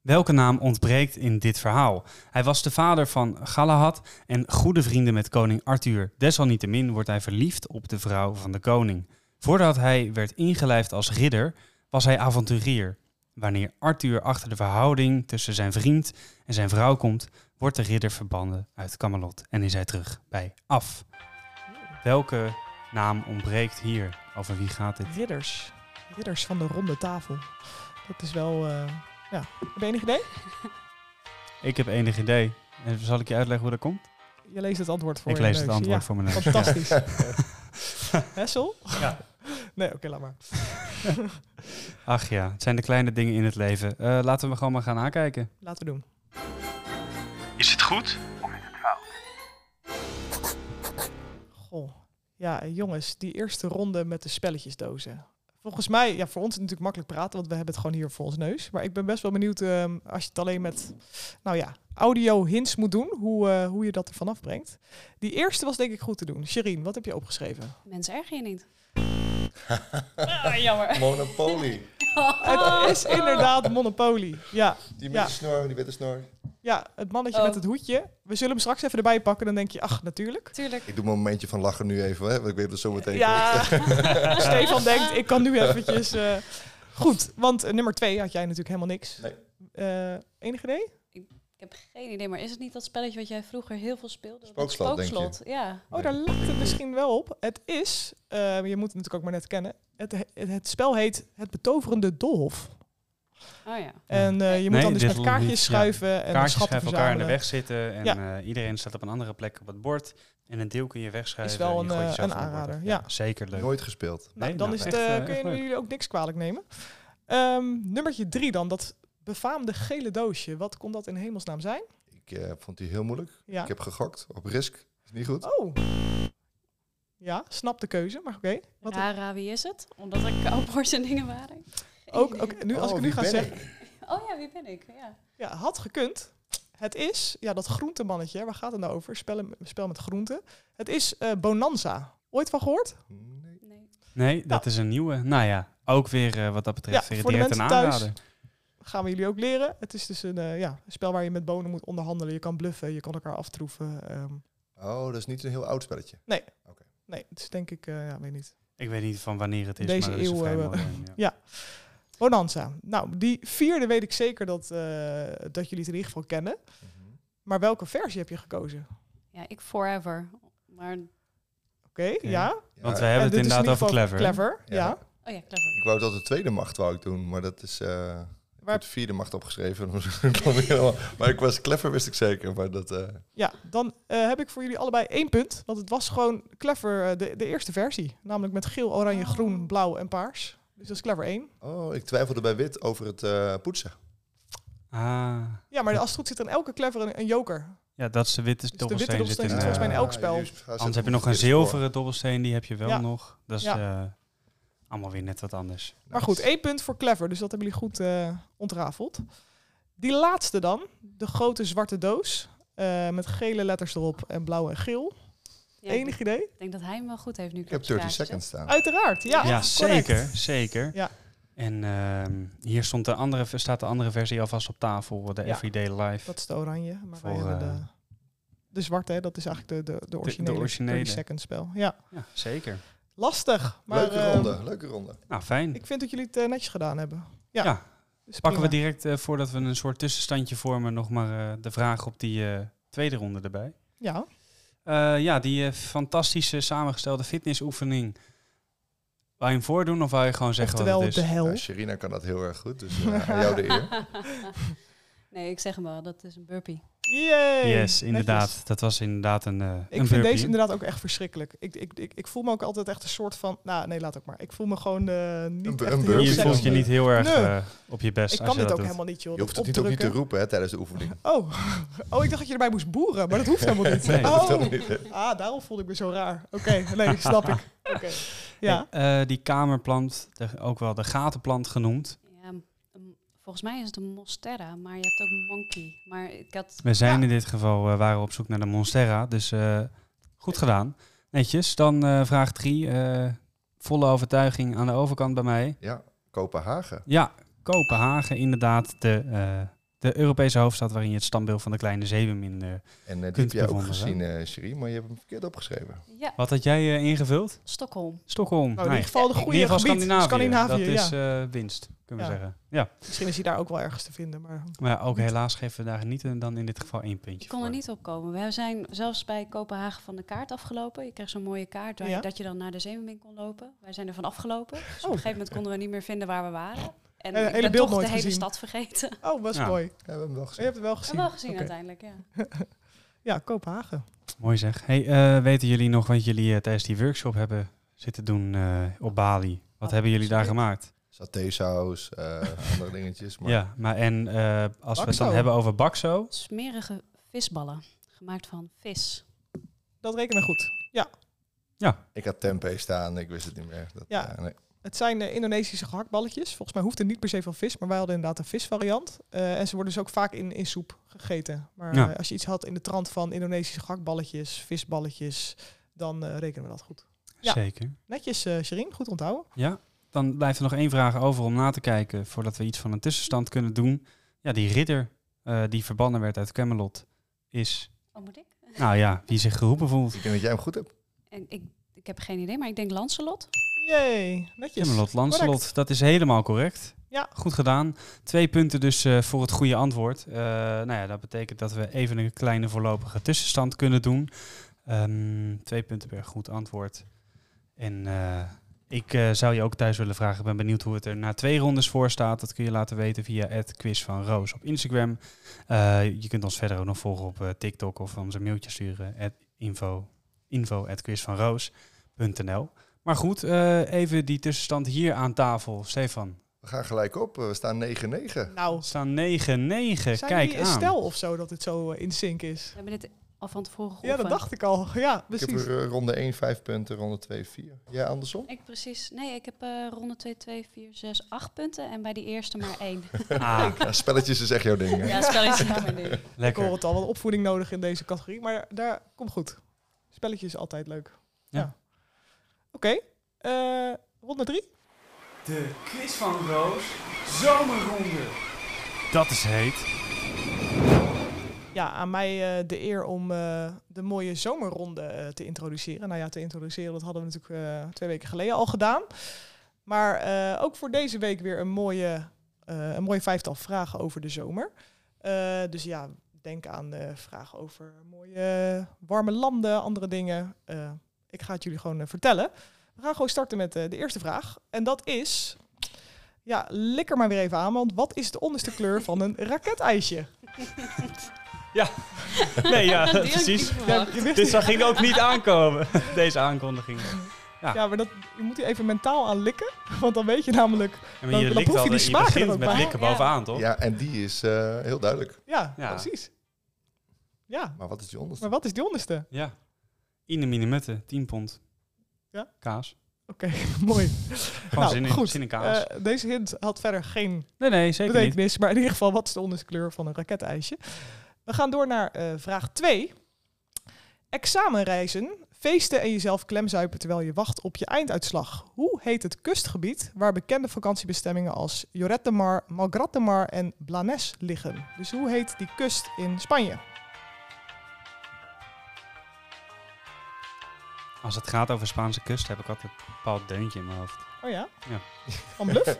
[SPEAKER 1] Welke naam ontbreekt in dit verhaal? Hij was de vader van Galahad en goede vrienden met koning Arthur. Desalniettemin wordt hij verliefd op de vrouw van de koning. Voordat hij werd ingelijfd als ridder, was hij avonturier. Wanneer Arthur achter de verhouding tussen zijn vriend en zijn vrouw komt, wordt de ridder verbannen uit Camelot en is hij terug bij Af. Welke naam ontbreekt hier? Over wie gaat dit?
[SPEAKER 2] Ridders. Ridders van de ronde tafel. Dat is wel... eh, ja. Heb je enig idee?
[SPEAKER 1] Ik heb enig idee. En zal ik je uitleggen hoe dat komt?
[SPEAKER 2] Je leest het antwoord voor
[SPEAKER 1] Ik
[SPEAKER 2] je
[SPEAKER 1] lees
[SPEAKER 2] neus.
[SPEAKER 1] het antwoord voor mijn
[SPEAKER 2] Ja,
[SPEAKER 1] neus.
[SPEAKER 2] fantastisch. Hessel?
[SPEAKER 1] Ja.
[SPEAKER 2] [laughs] Nee, oké, laat maar.
[SPEAKER 1] [laughs] Ach ja, het zijn de kleine dingen in het leven. Eh, laten we gewoon maar gaan aankijken.
[SPEAKER 2] Laten we doen.
[SPEAKER 1] Is het goed?
[SPEAKER 2] Goh. Ja, eh, jongens, die eerste ronde met de spelletjesdozen. Volgens mij, ja, voor ons is het natuurlijk makkelijk praten, want we hebben het gewoon hier voor ons neus. Maar ik ben best wel benieuwd, ehm, als je het alleen met, nou ja, audio hints moet doen, hoe, eh, hoe je dat ervan afbrengt. Die eerste was denk ik goed te doen. Shireen, wat heb je opgeschreven?
[SPEAKER 4] [laughs] Mensen erger je
[SPEAKER 3] [laughs]
[SPEAKER 4] niet. Ah, jammer. Oh,
[SPEAKER 3] Monopoly.
[SPEAKER 2] Het is inderdaad Monopoly. Ja,
[SPEAKER 3] Die met
[SPEAKER 2] Ja.
[SPEAKER 3] de snor, die met de snor.
[SPEAKER 2] ja het mannetje
[SPEAKER 4] Oh.
[SPEAKER 2] met het hoedje. We zullen hem straks even erbij pakken, dan denk je, ach,
[SPEAKER 4] [laughs]
[SPEAKER 2] natuurlijk.
[SPEAKER 4] Tuurlijk.
[SPEAKER 3] Ik doe een momentje van lachen nu even, hè, want ik weet dat het zo meteen
[SPEAKER 2] Ja, [laughs]
[SPEAKER 3] komt.
[SPEAKER 2] Stefan denkt, ik kan nu eventjes... eh, goed, want eh, nummer twee had jij natuurlijk helemaal niks.
[SPEAKER 3] Nee.
[SPEAKER 2] Eh, enig idee?
[SPEAKER 4] Ik heb geen idee, maar is het niet dat spelletje wat jij vroeger heel veel speelde? Dat
[SPEAKER 3] Spookslot, denk je?
[SPEAKER 4] ja.
[SPEAKER 2] Oh, daar lijkt het misschien wel op. Het is, eh, je moet het natuurlijk ook maar net kennen. Het, het, het spel heet Het Betoverende Doolhof.
[SPEAKER 4] Oh ja.
[SPEAKER 2] En eh, je moet
[SPEAKER 1] Nee,
[SPEAKER 2] dan dus
[SPEAKER 1] dit
[SPEAKER 2] met
[SPEAKER 1] is
[SPEAKER 2] kaartjes
[SPEAKER 1] niet- ja.
[SPEAKER 2] schuiven en
[SPEAKER 1] Kaartjes
[SPEAKER 2] schatten
[SPEAKER 1] gaan elkaar in de
[SPEAKER 2] verzamelen.
[SPEAKER 1] weg zitten en
[SPEAKER 2] Ja.
[SPEAKER 1] eh, iedereen staat op een andere plek op het bord. En een deel kun je wegschrijven.
[SPEAKER 2] Is wel
[SPEAKER 1] en je
[SPEAKER 2] een,
[SPEAKER 1] gooit
[SPEAKER 2] eh,
[SPEAKER 1] jezelf
[SPEAKER 2] een
[SPEAKER 1] aan de borden.
[SPEAKER 2] aanrader, ja.
[SPEAKER 1] Zeker leuk.
[SPEAKER 3] Nooit gespeeld.
[SPEAKER 2] Nou,
[SPEAKER 1] Nee,
[SPEAKER 2] dan
[SPEAKER 1] nou,
[SPEAKER 2] is het,
[SPEAKER 1] echt,
[SPEAKER 2] eh,
[SPEAKER 1] eh, echt
[SPEAKER 2] kunnen
[SPEAKER 1] leuk.
[SPEAKER 2] jullie ook niks kwalijk nemen. Ehm, nummertje drie dan, dat befaamde gele doosje. Wat kon dat in hemelsnaam zijn?
[SPEAKER 3] Ik eh, vond die heel moeilijk.
[SPEAKER 2] Ja.
[SPEAKER 3] Ik heb gegokt op risk. Is niet goed.
[SPEAKER 2] Oh. Ja, snap de keuze, maar oké. Wat-
[SPEAKER 4] Rara, wie is het? Omdat er cowboys en dingen waren. Geen
[SPEAKER 2] Ook,
[SPEAKER 4] idee.
[SPEAKER 2] oké, nu, als
[SPEAKER 3] Oh,
[SPEAKER 2] ik het nu
[SPEAKER 3] wie
[SPEAKER 2] ga
[SPEAKER 3] ben
[SPEAKER 2] zeggen...
[SPEAKER 3] ik?
[SPEAKER 4] Oh ja, wie ben ik? Ja.
[SPEAKER 2] Ja, had gekund. Het is, ja, dat groentemannetje, waar gaat het nou over? Spel, spel met groenten. Het is eh, Bonanza. Ooit van gehoord?
[SPEAKER 3] Nee.
[SPEAKER 4] Nee.
[SPEAKER 1] Nee, dat is een nieuwe. Nou ja, ook weer eh, wat dat betreft
[SPEAKER 2] Ja,
[SPEAKER 1] weer
[SPEAKER 2] voor de
[SPEAKER 1] direct een
[SPEAKER 2] mensen thuis.
[SPEAKER 1] aanrader.
[SPEAKER 2] Gaan we jullie ook leren. Het is dus een, eh, ja, een spel waar je met bonen moet onderhandelen. Je kan bluffen, je kan elkaar aftroeven. ehm.
[SPEAKER 3] Oh, dat is niet een heel oud spelletje.
[SPEAKER 2] nee, het is denk ik, eh, ja, weet niet.
[SPEAKER 1] Ik weet niet van wanneer het is,
[SPEAKER 2] Deze
[SPEAKER 1] maar dat is een
[SPEAKER 2] eeuw, [laughs]
[SPEAKER 1] vrij
[SPEAKER 2] eh,
[SPEAKER 1] mooi, ja.
[SPEAKER 2] Bonanza. Nou, die vierde weet ik zeker dat, eh, dat jullie het in ieder geval kennen.
[SPEAKER 3] Mhm.
[SPEAKER 2] Maar welke versie heb je gekozen?
[SPEAKER 4] Ja, ik forever. Maar, Oh
[SPEAKER 2] Oké,
[SPEAKER 1] Oké.
[SPEAKER 2] ja.
[SPEAKER 3] Ja,
[SPEAKER 1] Want we hebben
[SPEAKER 2] En dit
[SPEAKER 1] het
[SPEAKER 2] is in ieder
[SPEAKER 1] inderdaad over
[SPEAKER 2] geval
[SPEAKER 1] clever.
[SPEAKER 2] Clever, ja.
[SPEAKER 3] Ja.
[SPEAKER 4] oh ja, clever.
[SPEAKER 3] Ik wou dat de tweede macht wou ik doen, maar dat is... eh, ik
[SPEAKER 2] Waar-
[SPEAKER 3] heb de vierde macht opgeschreven. [laughs] Ik kon niet helemaal- maar ik was clever, wist ik zeker. Maar dat... eh,
[SPEAKER 2] Ja, dan eh, heb ik voor jullie allebei één punt. Want het was gewoon clever, eh, de, de eerste versie. Namelijk met geel, oranje, groen, blauw en paars. Dus dat is clever één.
[SPEAKER 3] oh, ik twijfelde bij wit over het eh, poetsen.
[SPEAKER 1] Ah,
[SPEAKER 2] Ja, maar als het goed zit er in elke clever een, een joker.
[SPEAKER 1] ja, dat is de witte
[SPEAKER 2] Dus de
[SPEAKER 1] dobbelsteen.
[SPEAKER 2] witte
[SPEAKER 1] zit
[SPEAKER 2] dobbelsteen
[SPEAKER 1] in,
[SPEAKER 2] zit volgens mij in
[SPEAKER 1] eh,
[SPEAKER 2] elk spel.
[SPEAKER 3] jullie gaan
[SPEAKER 1] Anders
[SPEAKER 3] zetten
[SPEAKER 1] heb je nog een
[SPEAKER 3] verkeerde spoor.
[SPEAKER 1] zilveren dobbelsteen, die heb je wel
[SPEAKER 2] Ja.
[SPEAKER 1] nog. Dat is
[SPEAKER 2] Ja.
[SPEAKER 1] eh, allemaal weer net wat anders.
[SPEAKER 2] Maar goed,
[SPEAKER 3] Nou,
[SPEAKER 2] één punt voor clever. Dus dat hebben jullie goed eh, ontrafeld. Die laatste dan. De grote zwarte doos. eh, met gele letters erop en blauw en geel.
[SPEAKER 4] Ja, ik
[SPEAKER 2] Enig idee?
[SPEAKER 4] denk dat hij hem wel goed heeft nu.
[SPEAKER 3] Ik heb 30 seconds
[SPEAKER 2] Oh,
[SPEAKER 3] staan.
[SPEAKER 2] Uiteraard, ja.
[SPEAKER 1] Ja,
[SPEAKER 2] correct.
[SPEAKER 1] zeker, zeker.
[SPEAKER 2] Ja.
[SPEAKER 1] En ehm, hier stond de andere, staat de andere versie alvast op tafel, de
[SPEAKER 2] Ja.
[SPEAKER 1] Everyday Life.
[SPEAKER 2] Dat is de oranje. Maar wij
[SPEAKER 1] Voor,
[SPEAKER 2] hebben de,
[SPEAKER 1] eh,
[SPEAKER 2] de zwarte, hè, dat is eigenlijk de, de, de originele,
[SPEAKER 1] originele.
[SPEAKER 2] 30 second spel. Ja.
[SPEAKER 1] Ja, zeker.
[SPEAKER 2] Lastig. Maar,
[SPEAKER 3] leuke
[SPEAKER 2] eh,
[SPEAKER 3] ronde, leuke ronde.
[SPEAKER 1] Nou, fijn.
[SPEAKER 2] Ik vind dat jullie het eh, netjes gedaan hebben. Ja.
[SPEAKER 1] ja.
[SPEAKER 2] Dus
[SPEAKER 1] Pakken we
[SPEAKER 2] prima.
[SPEAKER 1] direct, eh, voordat we een soort tussenstandje vormen, nog maar eh, de vraag op die eh, tweede ronde erbij.
[SPEAKER 2] Ja.
[SPEAKER 1] Eh, ja, die eh, fantastische samengestelde fitnessoefening. Wou je hem voordoen of wou je gewoon zeggen
[SPEAKER 2] Oftewel
[SPEAKER 1] wat het
[SPEAKER 2] de
[SPEAKER 1] is?
[SPEAKER 2] hel.
[SPEAKER 3] Ja, Sherina kan dat heel erg goed,
[SPEAKER 2] [laughs]
[SPEAKER 3] dus eh, aan jou de eer.
[SPEAKER 4] [laughs] nee, ik zeg hem wel. Dat is een burpee.
[SPEAKER 2] Yay!
[SPEAKER 1] Yes, inderdaad.
[SPEAKER 2] Netjes.
[SPEAKER 1] Dat was inderdaad een, eh
[SPEAKER 2] Ik
[SPEAKER 1] een
[SPEAKER 2] vind
[SPEAKER 1] burpee.
[SPEAKER 2] deze inderdaad ook echt verschrikkelijk. Ik, ik, ik, ik voel me ook altijd echt een soort van... Nou, nee, laat ook maar. Ik voel me gewoon eh,
[SPEAKER 3] Een
[SPEAKER 2] niet
[SPEAKER 3] bu-
[SPEAKER 2] echt
[SPEAKER 3] een
[SPEAKER 2] heel
[SPEAKER 3] burpee.
[SPEAKER 1] Je
[SPEAKER 2] sexy.
[SPEAKER 3] Burpees
[SPEAKER 1] voelt je
[SPEAKER 3] dan,
[SPEAKER 1] niet heel erg
[SPEAKER 2] Nee.
[SPEAKER 1] eh, op je best
[SPEAKER 2] Ik
[SPEAKER 1] als
[SPEAKER 2] kan dit
[SPEAKER 1] je dat
[SPEAKER 2] ook
[SPEAKER 1] doet.
[SPEAKER 2] helemaal niet, joh.
[SPEAKER 3] Je hoeft
[SPEAKER 2] dat
[SPEAKER 3] het niet, ook niet te
[SPEAKER 2] opdrukken.
[SPEAKER 3] roepen hè, tijdens de
[SPEAKER 2] [laughs]
[SPEAKER 3] oefening.
[SPEAKER 2] Oh. oh, [laughs] ik dacht dat je erbij moest boeren, maar dat hoeft helemaal
[SPEAKER 3] [laughs]
[SPEAKER 2] niet.
[SPEAKER 1] [laughs] Nee, dat
[SPEAKER 3] hoeft
[SPEAKER 2] oh.
[SPEAKER 3] helemaal niet.
[SPEAKER 2] Ah, daarom voelde ik me zo raar. Oké, nee, snap
[SPEAKER 1] [laughs]
[SPEAKER 2] ik. Oké. Ja. Nou,
[SPEAKER 1] Eh, die kamerplant, de- ook wel de gatenplant genoemd.
[SPEAKER 4] Ja, m- volgens mij is het een monstera, maar je hebt ook een monkey. Maar ik had...
[SPEAKER 1] We zijn
[SPEAKER 2] Ja.
[SPEAKER 1] in dit geval eh, waren we op zoek naar de Monstera, dus eh, goed gedaan. Netjes. Dan eh, vraag drie. eh, volle overtuiging aan de overkant bij mij.
[SPEAKER 3] Ja, Kopenhagen.
[SPEAKER 1] Ja, Kopenhagen inderdaad. De eh, de Europese hoofdstad waarin je het standbeeld van de kleine zeemermin... eh,
[SPEAKER 3] En eh, die heb
[SPEAKER 1] Kunt
[SPEAKER 3] jij ook
[SPEAKER 1] bewonderen,
[SPEAKER 3] gezien, eh Sherry, maar je hebt hem verkeerd opgeschreven.
[SPEAKER 4] Ja,
[SPEAKER 1] wat had jij eh, ingevuld?
[SPEAKER 4] Stockholm.
[SPEAKER 1] Stockholm.
[SPEAKER 2] Nou, in
[SPEAKER 1] Nee.
[SPEAKER 2] ieder geval de
[SPEAKER 1] In
[SPEAKER 2] goede
[SPEAKER 1] ieder geval
[SPEAKER 2] gebied.
[SPEAKER 1] Scandinavië.
[SPEAKER 2] Scandinavië,
[SPEAKER 1] Dat
[SPEAKER 2] ja.
[SPEAKER 1] is eh, winst, kunnen we
[SPEAKER 2] Ja.
[SPEAKER 1] zeggen. Ja,
[SPEAKER 2] Misschien is hij daar ook wel ergens te vinden. Maar
[SPEAKER 1] maar ook helaas geven we daar niet eh, dan in dit geval één puntje
[SPEAKER 4] Ik kon er
[SPEAKER 1] voor.
[SPEAKER 4] niet op komen. We zijn zelfs bij Kopenhagen van de kaart afgelopen. Je kreeg zo'n mooie kaart waar
[SPEAKER 2] Ja.
[SPEAKER 4] je, dat je dan naar de zeemermin kon lopen. Wij zijn er van afgelopen. Dus op een
[SPEAKER 2] Oh.
[SPEAKER 4] gegeven moment konden we niet meer vinden waar we waren. En
[SPEAKER 2] Eh,
[SPEAKER 4] ik
[SPEAKER 2] hele
[SPEAKER 4] ben
[SPEAKER 2] beeld
[SPEAKER 4] toch
[SPEAKER 2] nooit
[SPEAKER 4] de hele
[SPEAKER 2] gezien.
[SPEAKER 4] stad vergeten. Maar
[SPEAKER 2] oh, was
[SPEAKER 1] Ja.
[SPEAKER 2] mooi.
[SPEAKER 3] Ja, we hebben hem wel
[SPEAKER 2] Je
[SPEAKER 3] gezien.
[SPEAKER 2] hebt het wel
[SPEAKER 4] We
[SPEAKER 2] gezien.
[SPEAKER 4] hebben [laughs] wel gezien
[SPEAKER 2] Oké.
[SPEAKER 4] uiteindelijk, ja.
[SPEAKER 2] Ja, Kopenhagen.
[SPEAKER 1] Mooi zeg. Hey, eh, weten jullie nog wat jullie eh, tijdens die workshop hebben zitten doen eh, op Bali? Wat
[SPEAKER 2] Ah,
[SPEAKER 1] hebben jullie daar
[SPEAKER 2] zeker.
[SPEAKER 1] gemaakt?
[SPEAKER 3] Satésaus, [laughs] eh, andere dingetjes. Maar
[SPEAKER 1] ja, maar en eh, als we het dan
[SPEAKER 2] Bakso.
[SPEAKER 1] hebben over bakso,
[SPEAKER 4] Smerige visballen. Gemaakt van vis.
[SPEAKER 2] Dat rekenen we goed.
[SPEAKER 3] ik had tempeh staan, ik wist het niet meer. Dat,
[SPEAKER 2] Ja.
[SPEAKER 3] eh, nee.
[SPEAKER 2] Het zijn eh, Indonesische gehaktballetjes. Volgens mij hoeft er niet per se van vis, maar wij hadden inderdaad een visvariant. Eh, en ze worden dus ook vaak in, in soep gegeten. Maar
[SPEAKER 1] Ja.
[SPEAKER 2] eh, als je iets had in de trant van Indonesische gehaktballetjes, visballetjes, dan eh, rekenen we dat goed. Ja.
[SPEAKER 1] zeker.
[SPEAKER 2] Netjes, eh Sherine, goed onthouden.
[SPEAKER 1] Ja, dan blijft er nog één vraag over om na te kijken voordat we iets van een tussenstand kunnen doen. Ja, die ridder eh, die verbannen werd uit Camelot is,
[SPEAKER 4] Oh, moet ik?
[SPEAKER 1] nou ja, wie zich geroepen voelt.
[SPEAKER 3] Ik denk dat jij hem goed hebt.
[SPEAKER 4] En ik, ik heb geen idee, maar ik denk Lancelot.
[SPEAKER 2] Jee, netjes.
[SPEAKER 1] Camelot, Lancelot,
[SPEAKER 2] Correct.
[SPEAKER 1] dat is helemaal correct.
[SPEAKER 2] Ja.
[SPEAKER 1] Goed gedaan. Twee punten dus eh, voor het goede antwoord. Eh, nou ja, dat betekent dat we even een kleine voorlopige tussenstand kunnen doen. Ehm, twee punten per goed antwoord. En eh, ik eh, zou je ook thuis willen vragen. Ik ben benieuwd hoe het er na twee rondes voor staat. Dat kun je laten weten via het quiz van Roos op Instagram. Eh, je kunt ons verder ook nog volgen op eh, TikTok of ons een mailtje sturen. At info, info at quizvanroos.nl. Maar goed, eh, even die tussenstand hier aan tafel. Stefan,
[SPEAKER 3] We gaan gelijk op, eh, we staan 9-9.
[SPEAKER 2] Nou,
[SPEAKER 1] we staan 9-9.
[SPEAKER 2] zijn
[SPEAKER 1] Eh, Kijk
[SPEAKER 2] jullie een
[SPEAKER 1] aan.
[SPEAKER 2] stel of zo dat het zo eh, in sync is?
[SPEAKER 4] We hebben dit al van tevoren gehoord.
[SPEAKER 2] Ja, dat dacht ik al. Ja,
[SPEAKER 3] Ik heb
[SPEAKER 2] precies.
[SPEAKER 3] er eh, ronde 1 5 punten, ronde 2 4. Ja, andersom?
[SPEAKER 4] Ik precies. Nee, ik heb eh, ronde 2, 2, 4, 6, 8 punten. En bij die eerste maar
[SPEAKER 2] [laughs]
[SPEAKER 4] één.
[SPEAKER 1] Ah,
[SPEAKER 3] Ja, spelletjes is echt jouw ding. hè?
[SPEAKER 4] ja, spel is niet mijn ding.
[SPEAKER 2] Ik hoor
[SPEAKER 1] lekker.
[SPEAKER 2] het al, wat opvoeding nodig in deze categorie. Maar daar komt goed. Spelletje is altijd leuk. Ja.
[SPEAKER 1] Ja.
[SPEAKER 2] Oké, eh, ronde drie.
[SPEAKER 1] De quiz van Roos, zomerronde. Dat is
[SPEAKER 2] [laughs]
[SPEAKER 1] heet.
[SPEAKER 2] Ja, aan mij eh, de eer om eh, de mooie zomerronde eh, te introduceren. Nou ja, te introduceren, dat hadden we natuurlijk eh, twee weken geleden al gedaan. Maar eh, ook voor deze week weer een mooie, eh, een mooie vijftal vragen over de zomer. Eh, dus ja, denk aan eh, vragen over mooie eh, warme landen, andere dingen. Eh, ik ga het jullie gewoon eh, vertellen. We gaan gewoon starten met eh, de eerste vraag. En dat is... Ja, lik er maar weer even aan, want wat is de onderste kleur van een raketijsje?
[SPEAKER 1] Nee, ja,
[SPEAKER 4] [laughs] Die had ik niet
[SPEAKER 1] precies.
[SPEAKER 2] Ja,
[SPEAKER 4] verwacht.
[SPEAKER 2] je wist
[SPEAKER 1] Dit zag- ging ook
[SPEAKER 2] [laughs]
[SPEAKER 1] niet aankomen, [laughs] deze aankondiging. Ja,
[SPEAKER 2] Ja, maar dat, je moet hier even mentaal aan likken. [laughs] Want dan weet je namelijk...
[SPEAKER 1] maar
[SPEAKER 2] Dan- dan proef je die
[SPEAKER 1] eh,
[SPEAKER 2] smaak er
[SPEAKER 1] begint
[SPEAKER 2] ook
[SPEAKER 1] met
[SPEAKER 2] bij.
[SPEAKER 1] likken
[SPEAKER 4] Ja.
[SPEAKER 1] bovenaan, toch?
[SPEAKER 3] Ja, en die is eh, heel duidelijk.
[SPEAKER 2] Ja,
[SPEAKER 1] Ja.
[SPEAKER 2] precies. Ja,
[SPEAKER 3] Maar wat is die onderste?
[SPEAKER 2] maar wat is die onderste?
[SPEAKER 1] Ja. In de minimutte, 10 pond.
[SPEAKER 2] Ja?
[SPEAKER 1] Kaas.
[SPEAKER 2] Oké, [laughs] mooi.
[SPEAKER 1] Gewoon
[SPEAKER 2] Nou,
[SPEAKER 1] zin, in,
[SPEAKER 2] goed.
[SPEAKER 1] zin in kaas.
[SPEAKER 2] Eh, deze hint had verder geen
[SPEAKER 1] nee, nee, zeker niet.
[SPEAKER 2] betekenis. Maar in ieder geval, wat is de onderste kleur van een raketijsje? We gaan door naar eh, vraag 2. Examenreizen, feesten en jezelf klemzuipen terwijl je wacht op je einduitslag. Hoe heet het kustgebied waar bekende vakantiebestemmingen als Lloret de Mar, Malgrat de Mar en Blanes liggen? Dus hoe heet die kust in Spanje?
[SPEAKER 1] Als het gaat over Spaanse kust, heb ik altijd een bepaald deuntje in mijn hoofd.
[SPEAKER 2] Oh ja? [laughs]
[SPEAKER 1] Ja.
[SPEAKER 2] Van Bluff?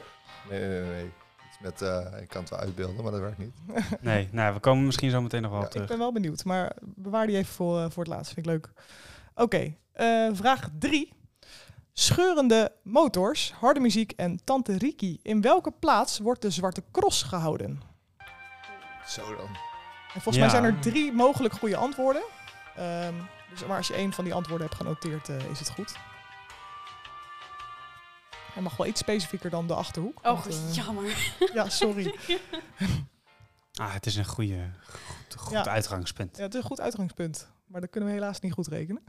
[SPEAKER 3] Nee, nee, nee. nee. Iets met, eh, ik kan het wel uitbeelden, maar dat werkt niet.
[SPEAKER 1] Nee, [laughs] nou, we komen misschien zo meteen nog wel
[SPEAKER 3] Ja,
[SPEAKER 1] op
[SPEAKER 2] Ik
[SPEAKER 1] terug.
[SPEAKER 2] ben wel benieuwd, maar bewaar die even voor, eh, voor het laatst. Vind ik leuk. Oké, eh, vraag 3. Scheurende motors, harde muziek en Tante Riki. In welke plaats wordt de Zwarte Cross gehouden?
[SPEAKER 3] Zo dan.
[SPEAKER 2] En volgens
[SPEAKER 1] Ja.
[SPEAKER 2] mij zijn er drie mogelijk goede antwoorden. Ehm, dus, maar als je één van die antwoorden hebt genoteerd, eh, is het goed. Hij mag wel iets specifieker dan de Achterhoek.
[SPEAKER 4] Oh,
[SPEAKER 2] want, eh,
[SPEAKER 4] jammer.
[SPEAKER 2] ja, sorry.
[SPEAKER 1] Ah, het is een goede, goed, goed
[SPEAKER 2] Ja.
[SPEAKER 1] uitgangspunt.
[SPEAKER 2] Ja, het is een goed uitgangspunt, maar dat kunnen we helaas niet goed rekenen.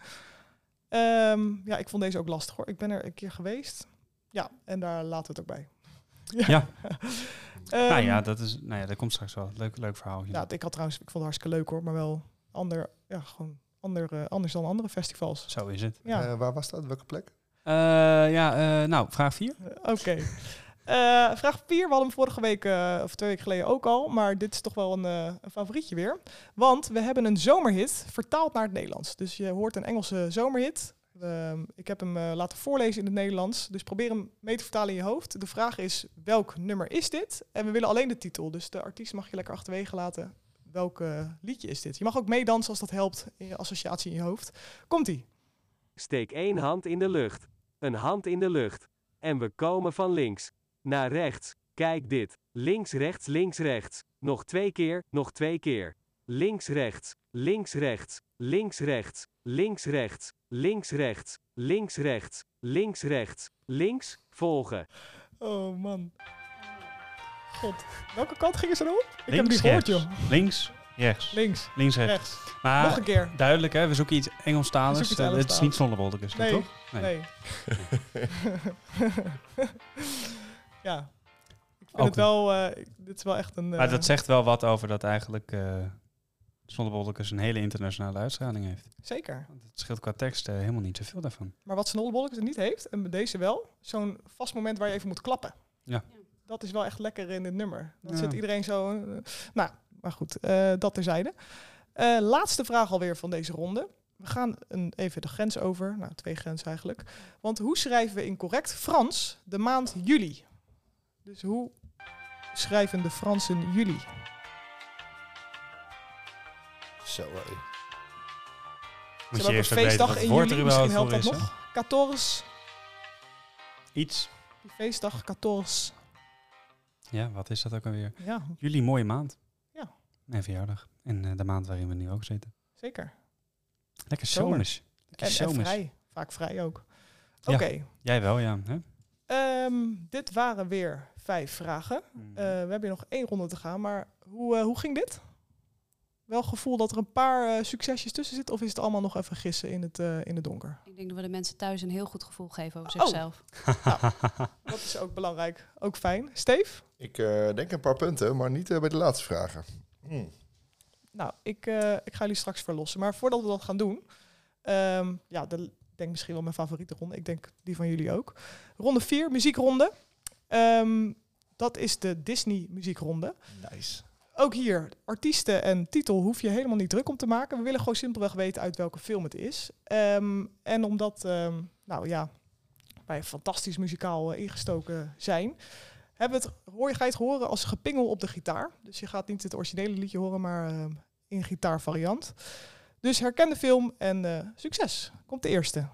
[SPEAKER 2] Ehm, ja, ik vond deze ook lastig hoor. Ik ben er een keer geweest. Ja, en daar laten we het ook bij.
[SPEAKER 1] Ja. nou
[SPEAKER 2] [laughs] Ehm,
[SPEAKER 1] ja, dat, is, nou ja, dat komt straks wel. Leuk, leuk verhaal.
[SPEAKER 2] ja, ik had trouwens, ik vond het hartstikke leuk hoor, maar wel ander, ja, gewoon ander, eh, anders dan andere festivals.
[SPEAKER 1] Zo is het.
[SPEAKER 2] Ja,
[SPEAKER 3] Eh, waar was dat? Welke plek?
[SPEAKER 1] Eh, ja, eh, nou, vraag 4.
[SPEAKER 2] eh, [laughs] oké. Eh, Eh, vraag 4, we hadden hem vorige week eh, of twee weken geleden ook al. Maar dit is toch wel een, eh, een favorietje weer. Want we hebben een zomerhit vertaald naar het Nederlands. Dus je hoort een Engelse zomerhit. Ehm, ik heb hem eh, laten voorlezen in het Nederlands. Dus probeer hem mee te vertalen in je hoofd. De vraag is, welk nummer is dit? En we willen alleen de titel. Dus de artiest mag je lekker achterwege laten. Welk eh, liedje is dit? Je mag ook meedansen als dat helpt in je associatie in je hoofd. Komt-ie.
[SPEAKER 5] Steek één hand in de lucht. Een hand in de lucht. En we komen van links naar rechts. Kijk dit. Links, rechts, links, rechts. Nog twee keer, nog twee keer. Links, rechts, links, rechts, links, rechts, links, rechts, links, rechts, links, rechts, links, rechts, links, volgen.
[SPEAKER 2] Oh man. God. Welke kant gingen ze erop? Ik heb het
[SPEAKER 1] Links,
[SPEAKER 2] niet gehoord,
[SPEAKER 1] rechts.
[SPEAKER 2] joh.
[SPEAKER 1] Links, rechts.
[SPEAKER 2] Links,
[SPEAKER 1] Links, rechts. Ah.
[SPEAKER 2] rechts. Nog
[SPEAKER 1] Maar
[SPEAKER 2] een keer.
[SPEAKER 1] duidelijk, hè? We zoeken iets
[SPEAKER 2] We
[SPEAKER 1] Engelstaligs.
[SPEAKER 2] zoeken iets
[SPEAKER 1] Eh, Het is niet
[SPEAKER 2] Engelstaligs.
[SPEAKER 1] Sonnewoldekus,
[SPEAKER 2] Nee,
[SPEAKER 1] toch?
[SPEAKER 2] Nee.
[SPEAKER 1] [laughs]
[SPEAKER 2] [laughs] ja. Ik vind
[SPEAKER 1] Ook
[SPEAKER 2] het wel... eh, dit is wel echt een...
[SPEAKER 1] Maar
[SPEAKER 2] eh,
[SPEAKER 1] dat zegt wel wat over dat eigenlijk eh Sonnewoldekus een hele internationale uitstraling heeft.
[SPEAKER 2] Zeker.
[SPEAKER 1] Het scheelt qua tekst eh, helemaal niet zoveel daarvan.
[SPEAKER 2] Maar wat Snollebollek het niet heeft, en met deze wel, zo'n vast moment waar je even moet klappen.
[SPEAKER 1] Ja.
[SPEAKER 4] Ja.
[SPEAKER 2] Dat is wel echt lekker in dit nummer. Dan
[SPEAKER 1] Ja.
[SPEAKER 2] zit iedereen zo... eh, nou, maar goed, eh, dat terzijde. Eh, laatste vraag alweer van deze ronde. We gaan een, even de grens over. Nou, twee grenzen eigenlijk. Want hoe schrijven we in correct Frans de maand juli? Dus hoe schrijven de Fransen juli?
[SPEAKER 3] Zo, hé.
[SPEAKER 1] Moet
[SPEAKER 2] Ze
[SPEAKER 1] je
[SPEAKER 2] hebben
[SPEAKER 1] eerst
[SPEAKER 2] ook een
[SPEAKER 1] ook weten
[SPEAKER 2] feestdag
[SPEAKER 1] wat het
[SPEAKER 2] in
[SPEAKER 1] woord er
[SPEAKER 2] juli,
[SPEAKER 1] überhaupt
[SPEAKER 2] misschien
[SPEAKER 1] voor
[SPEAKER 2] helpt dat
[SPEAKER 1] is. hè?
[SPEAKER 2] nog. 14,
[SPEAKER 1] Iets.
[SPEAKER 2] die feestdag 14.
[SPEAKER 1] Ja, wat is dat ook alweer?
[SPEAKER 2] Ja,
[SPEAKER 1] Jullie mooie maand.
[SPEAKER 2] Ja.
[SPEAKER 1] Mijn verjaardag. En eh, de maand waarin we nu ook zitten.
[SPEAKER 2] zeker.
[SPEAKER 1] Lekker
[SPEAKER 2] Zomer.
[SPEAKER 1] zomers. Lekker
[SPEAKER 2] En, en
[SPEAKER 1] zomers.
[SPEAKER 2] vrij. Vaak vrij ook.
[SPEAKER 1] Ja.
[SPEAKER 2] Oké,
[SPEAKER 1] Jij wel, ja. Hè?
[SPEAKER 2] ehm, dit waren weer vijf vragen. Eh,
[SPEAKER 1] Mhm.
[SPEAKER 2] we hebben hier nog één ronde te gaan, maar hoe, eh, hoe ging dit? Wel gevoel dat er een paar eh, succesjes tussen zitten, of is het allemaal nog even gissen in het, eh, in het
[SPEAKER 1] [laughs]
[SPEAKER 2] donker?
[SPEAKER 4] Ik denk dat we de mensen thuis een heel goed gevoel geven over
[SPEAKER 2] Oh.
[SPEAKER 4] zichzelf.
[SPEAKER 2] Dat is ook belangrijk, ook fijn. Steve?
[SPEAKER 3] Ik eh, denk een paar punten, maar niet eh, bij de laatste vragen. Hmm.
[SPEAKER 2] Nou, ik, eh, ik ga jullie straks verlossen. Maar voordat we dat gaan doen, ehm, ja, de, ik denk misschien wel mijn favoriete ronde. Ik denk die van jullie ook. Ronde 4, muziekronde. Ehm, dat is de Disney muziekronde.
[SPEAKER 3] Nice.
[SPEAKER 2] Ook hier, artiesten en titel hoef je helemaal niet druk om te maken. We willen gewoon simpelweg weten uit welke film het is. Ehm, en omdat, ehm, nou ja, wij fantastisch muzikaal eh, ingestoken zijn, hebben we het, hoor, ga je het horen als gepingel op de gitaar. Dus je gaat niet het originele liedje horen, maar ehm, in gitaarvariant. Dus herken de film en eh, succes. Komt de eerste.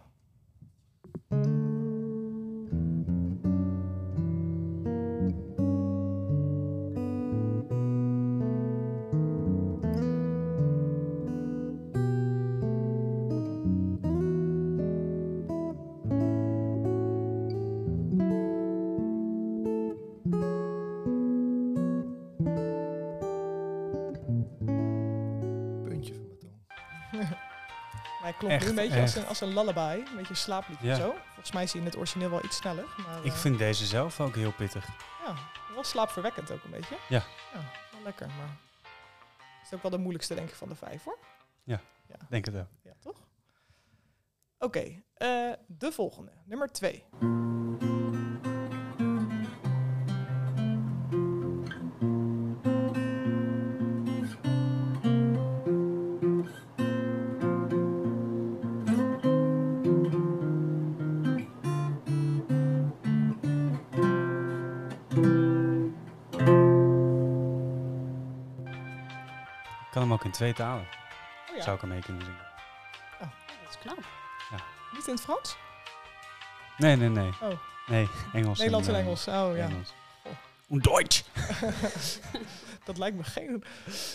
[SPEAKER 3] Puntje van mijn tong.
[SPEAKER 2] Hij klopt nu
[SPEAKER 1] Echt,
[SPEAKER 2] een beetje als
[SPEAKER 1] echt.
[SPEAKER 2] een, als een lullaby, een beetje een slaapliedje
[SPEAKER 1] Ja.
[SPEAKER 2] of zo. Volgens mij is hij in het origineel wel iets sneller. Maar,
[SPEAKER 4] Mm.
[SPEAKER 1] Ik
[SPEAKER 2] eh,
[SPEAKER 1] vind deze zelf ook heel pittig.
[SPEAKER 2] Ja, wel slaapverwekkend ook een beetje.
[SPEAKER 1] Ja.
[SPEAKER 2] Ja, wel lekker, maar... Het is ook wel de moeilijkste, denk ik, van de vijf, hoor.
[SPEAKER 1] Denk het wel.
[SPEAKER 2] Ja, toch? Oké, eh, de volgende. Nummer twee.
[SPEAKER 1] Ik kan hem ook in twee talen.
[SPEAKER 2] Oh ja,
[SPEAKER 1] Zou ik hem mee kunnen zingen.
[SPEAKER 4] Ja, dat is knap.
[SPEAKER 2] niet in het Frans?
[SPEAKER 1] Nee, nee, nee.
[SPEAKER 2] Oh,
[SPEAKER 1] Nee, Engels.
[SPEAKER 2] Nederlands en
[SPEAKER 1] eh,
[SPEAKER 2] Engels. Oh ja,
[SPEAKER 1] Engels.
[SPEAKER 2] Oh.
[SPEAKER 1] Een Duits.
[SPEAKER 2] [laughs] dat lijkt me geen...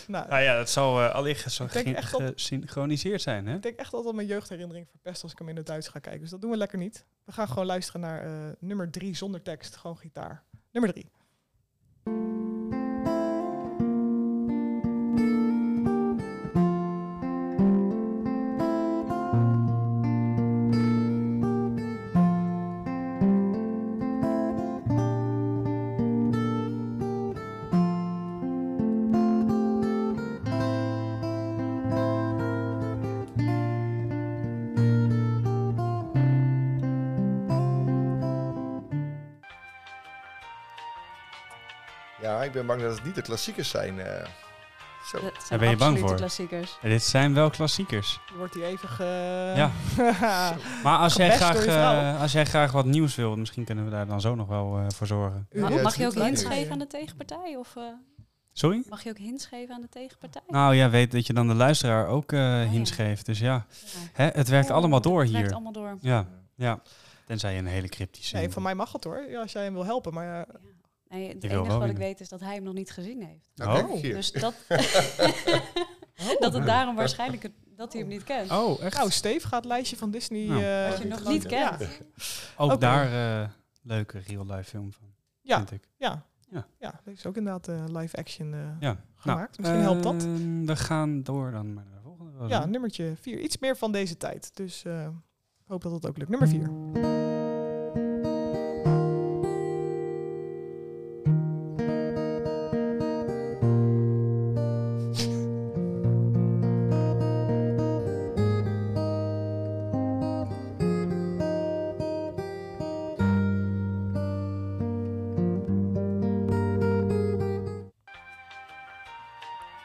[SPEAKER 2] Nou,
[SPEAKER 1] Nou ja, dat zal eh allicht zo
[SPEAKER 2] Ik denk
[SPEAKER 1] ge-
[SPEAKER 2] echt dat-
[SPEAKER 1] gesynchroniseerd zijn, hè?
[SPEAKER 2] ik denk echt altijd mijn jeugdherinnering verpest als ik hem in het Duits ga kijken. Dus dat doen we lekker niet. We gaan gewoon luisteren naar eh, nummer drie zonder tekst. Gewoon gitaar. Nummer drie.
[SPEAKER 3] Ja, ik ben bang dat het niet de klassiekers zijn. eh. Zo.
[SPEAKER 4] Dat zijn
[SPEAKER 1] Daar ben je bang
[SPEAKER 4] absolute
[SPEAKER 1] voor.
[SPEAKER 4] klassiekers.
[SPEAKER 1] En dit zijn wel klassiekers.
[SPEAKER 2] Je wordt hier even ge... [laughs]
[SPEAKER 1] Ja. Maar als jij,
[SPEAKER 2] Gepest
[SPEAKER 1] graag,
[SPEAKER 2] door je
[SPEAKER 1] eh,
[SPEAKER 2] vrouw.
[SPEAKER 1] als jij graag wat nieuws wilt, misschien kunnen we daar dan zo nog wel eh, voor zorgen.
[SPEAKER 2] U
[SPEAKER 4] Ma-
[SPEAKER 2] hoort
[SPEAKER 4] mag
[SPEAKER 2] het
[SPEAKER 4] je ook
[SPEAKER 2] niet
[SPEAKER 4] hints
[SPEAKER 2] lekker.
[SPEAKER 4] geven aan de tegenpartij? Of eh,
[SPEAKER 1] Sorry?
[SPEAKER 4] mag je ook hints geven aan de tegenpartij?
[SPEAKER 1] Nou ja, weet dat je dan de luisteraar ook eh
[SPEAKER 4] ja.
[SPEAKER 1] hints geeft. Dus ja,
[SPEAKER 4] Ja.
[SPEAKER 1] Hè, het werkt
[SPEAKER 4] Oh,
[SPEAKER 1] allemaal door
[SPEAKER 4] het werkt
[SPEAKER 1] hier.
[SPEAKER 4] allemaal door.
[SPEAKER 1] Ja, ja. Eh, Tenzij je een hele cryptische...
[SPEAKER 2] Nee, van mij mag het hoor. Ja, als jij hem wil helpen. Maar eh,
[SPEAKER 4] Nee, het
[SPEAKER 1] wil wel
[SPEAKER 4] enige wat ik
[SPEAKER 1] winnen.
[SPEAKER 4] weet is dat hij hem nog niet gezien heeft.
[SPEAKER 3] Nou, kijk,
[SPEAKER 1] Oh.
[SPEAKER 3] hier.
[SPEAKER 4] Dus dat,
[SPEAKER 2] [laughs]
[SPEAKER 4] [laughs] dat
[SPEAKER 2] Oh.
[SPEAKER 4] het daarom waarschijnlijk het- dat hij hem niet kent.
[SPEAKER 1] Oh, echt?
[SPEAKER 2] nou, Steve gaat het lijstje van Disney...
[SPEAKER 1] Nou.
[SPEAKER 2] eh,
[SPEAKER 4] Wat je nog
[SPEAKER 2] langs-
[SPEAKER 4] niet kent.
[SPEAKER 2] Ja,
[SPEAKER 1] Ook
[SPEAKER 2] oké.
[SPEAKER 1] daar eh, leuke real-life film van,
[SPEAKER 2] ja,
[SPEAKER 1] vind ik.
[SPEAKER 2] ja.
[SPEAKER 1] Ja.
[SPEAKER 2] ja. dat is ook inderdaad eh, live action eh,
[SPEAKER 1] Ja. nou,
[SPEAKER 2] gemaakt. Misschien helpt dat.
[SPEAKER 1] ehm, we gaan door dan naar de volgende. wel,
[SPEAKER 2] Ja,
[SPEAKER 1] hè?
[SPEAKER 2] nummertje 4. Iets meer van deze tijd. Dus eh, ik hoop dat dat ook lukt. Nummer 4.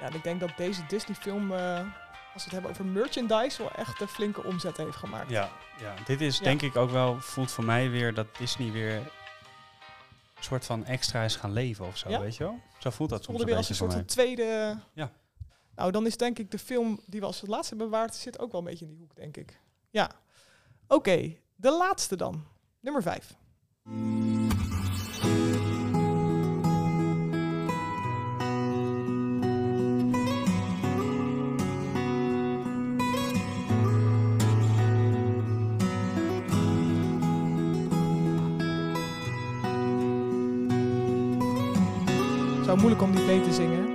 [SPEAKER 2] Ja, en ik denk dat deze Disney-film, eh, als we het hebben over merchandise, wel echt een flinke omzet heeft gemaakt.
[SPEAKER 1] Ja, ja, dit is
[SPEAKER 2] Ja.
[SPEAKER 1] denk ik ook wel, voelt voor mij weer dat Disney weer een soort van extra is gaan leven of zo,
[SPEAKER 2] Ja.
[SPEAKER 1] weet je wel? Zo voelt dat soms
[SPEAKER 2] Voelde
[SPEAKER 1] een
[SPEAKER 2] weer als
[SPEAKER 1] beetje
[SPEAKER 2] een
[SPEAKER 1] voor
[SPEAKER 2] soort
[SPEAKER 1] mij.
[SPEAKER 2] van tweede.
[SPEAKER 1] Ja.
[SPEAKER 2] Nou, dan is denk ik de film die we als het laatste hebben bewaard, zit ook wel een beetje in die hoek, denk ik. Ja. Oké, de laatste dan. Nummer 5. Zo moeilijk om niet mee te zingen.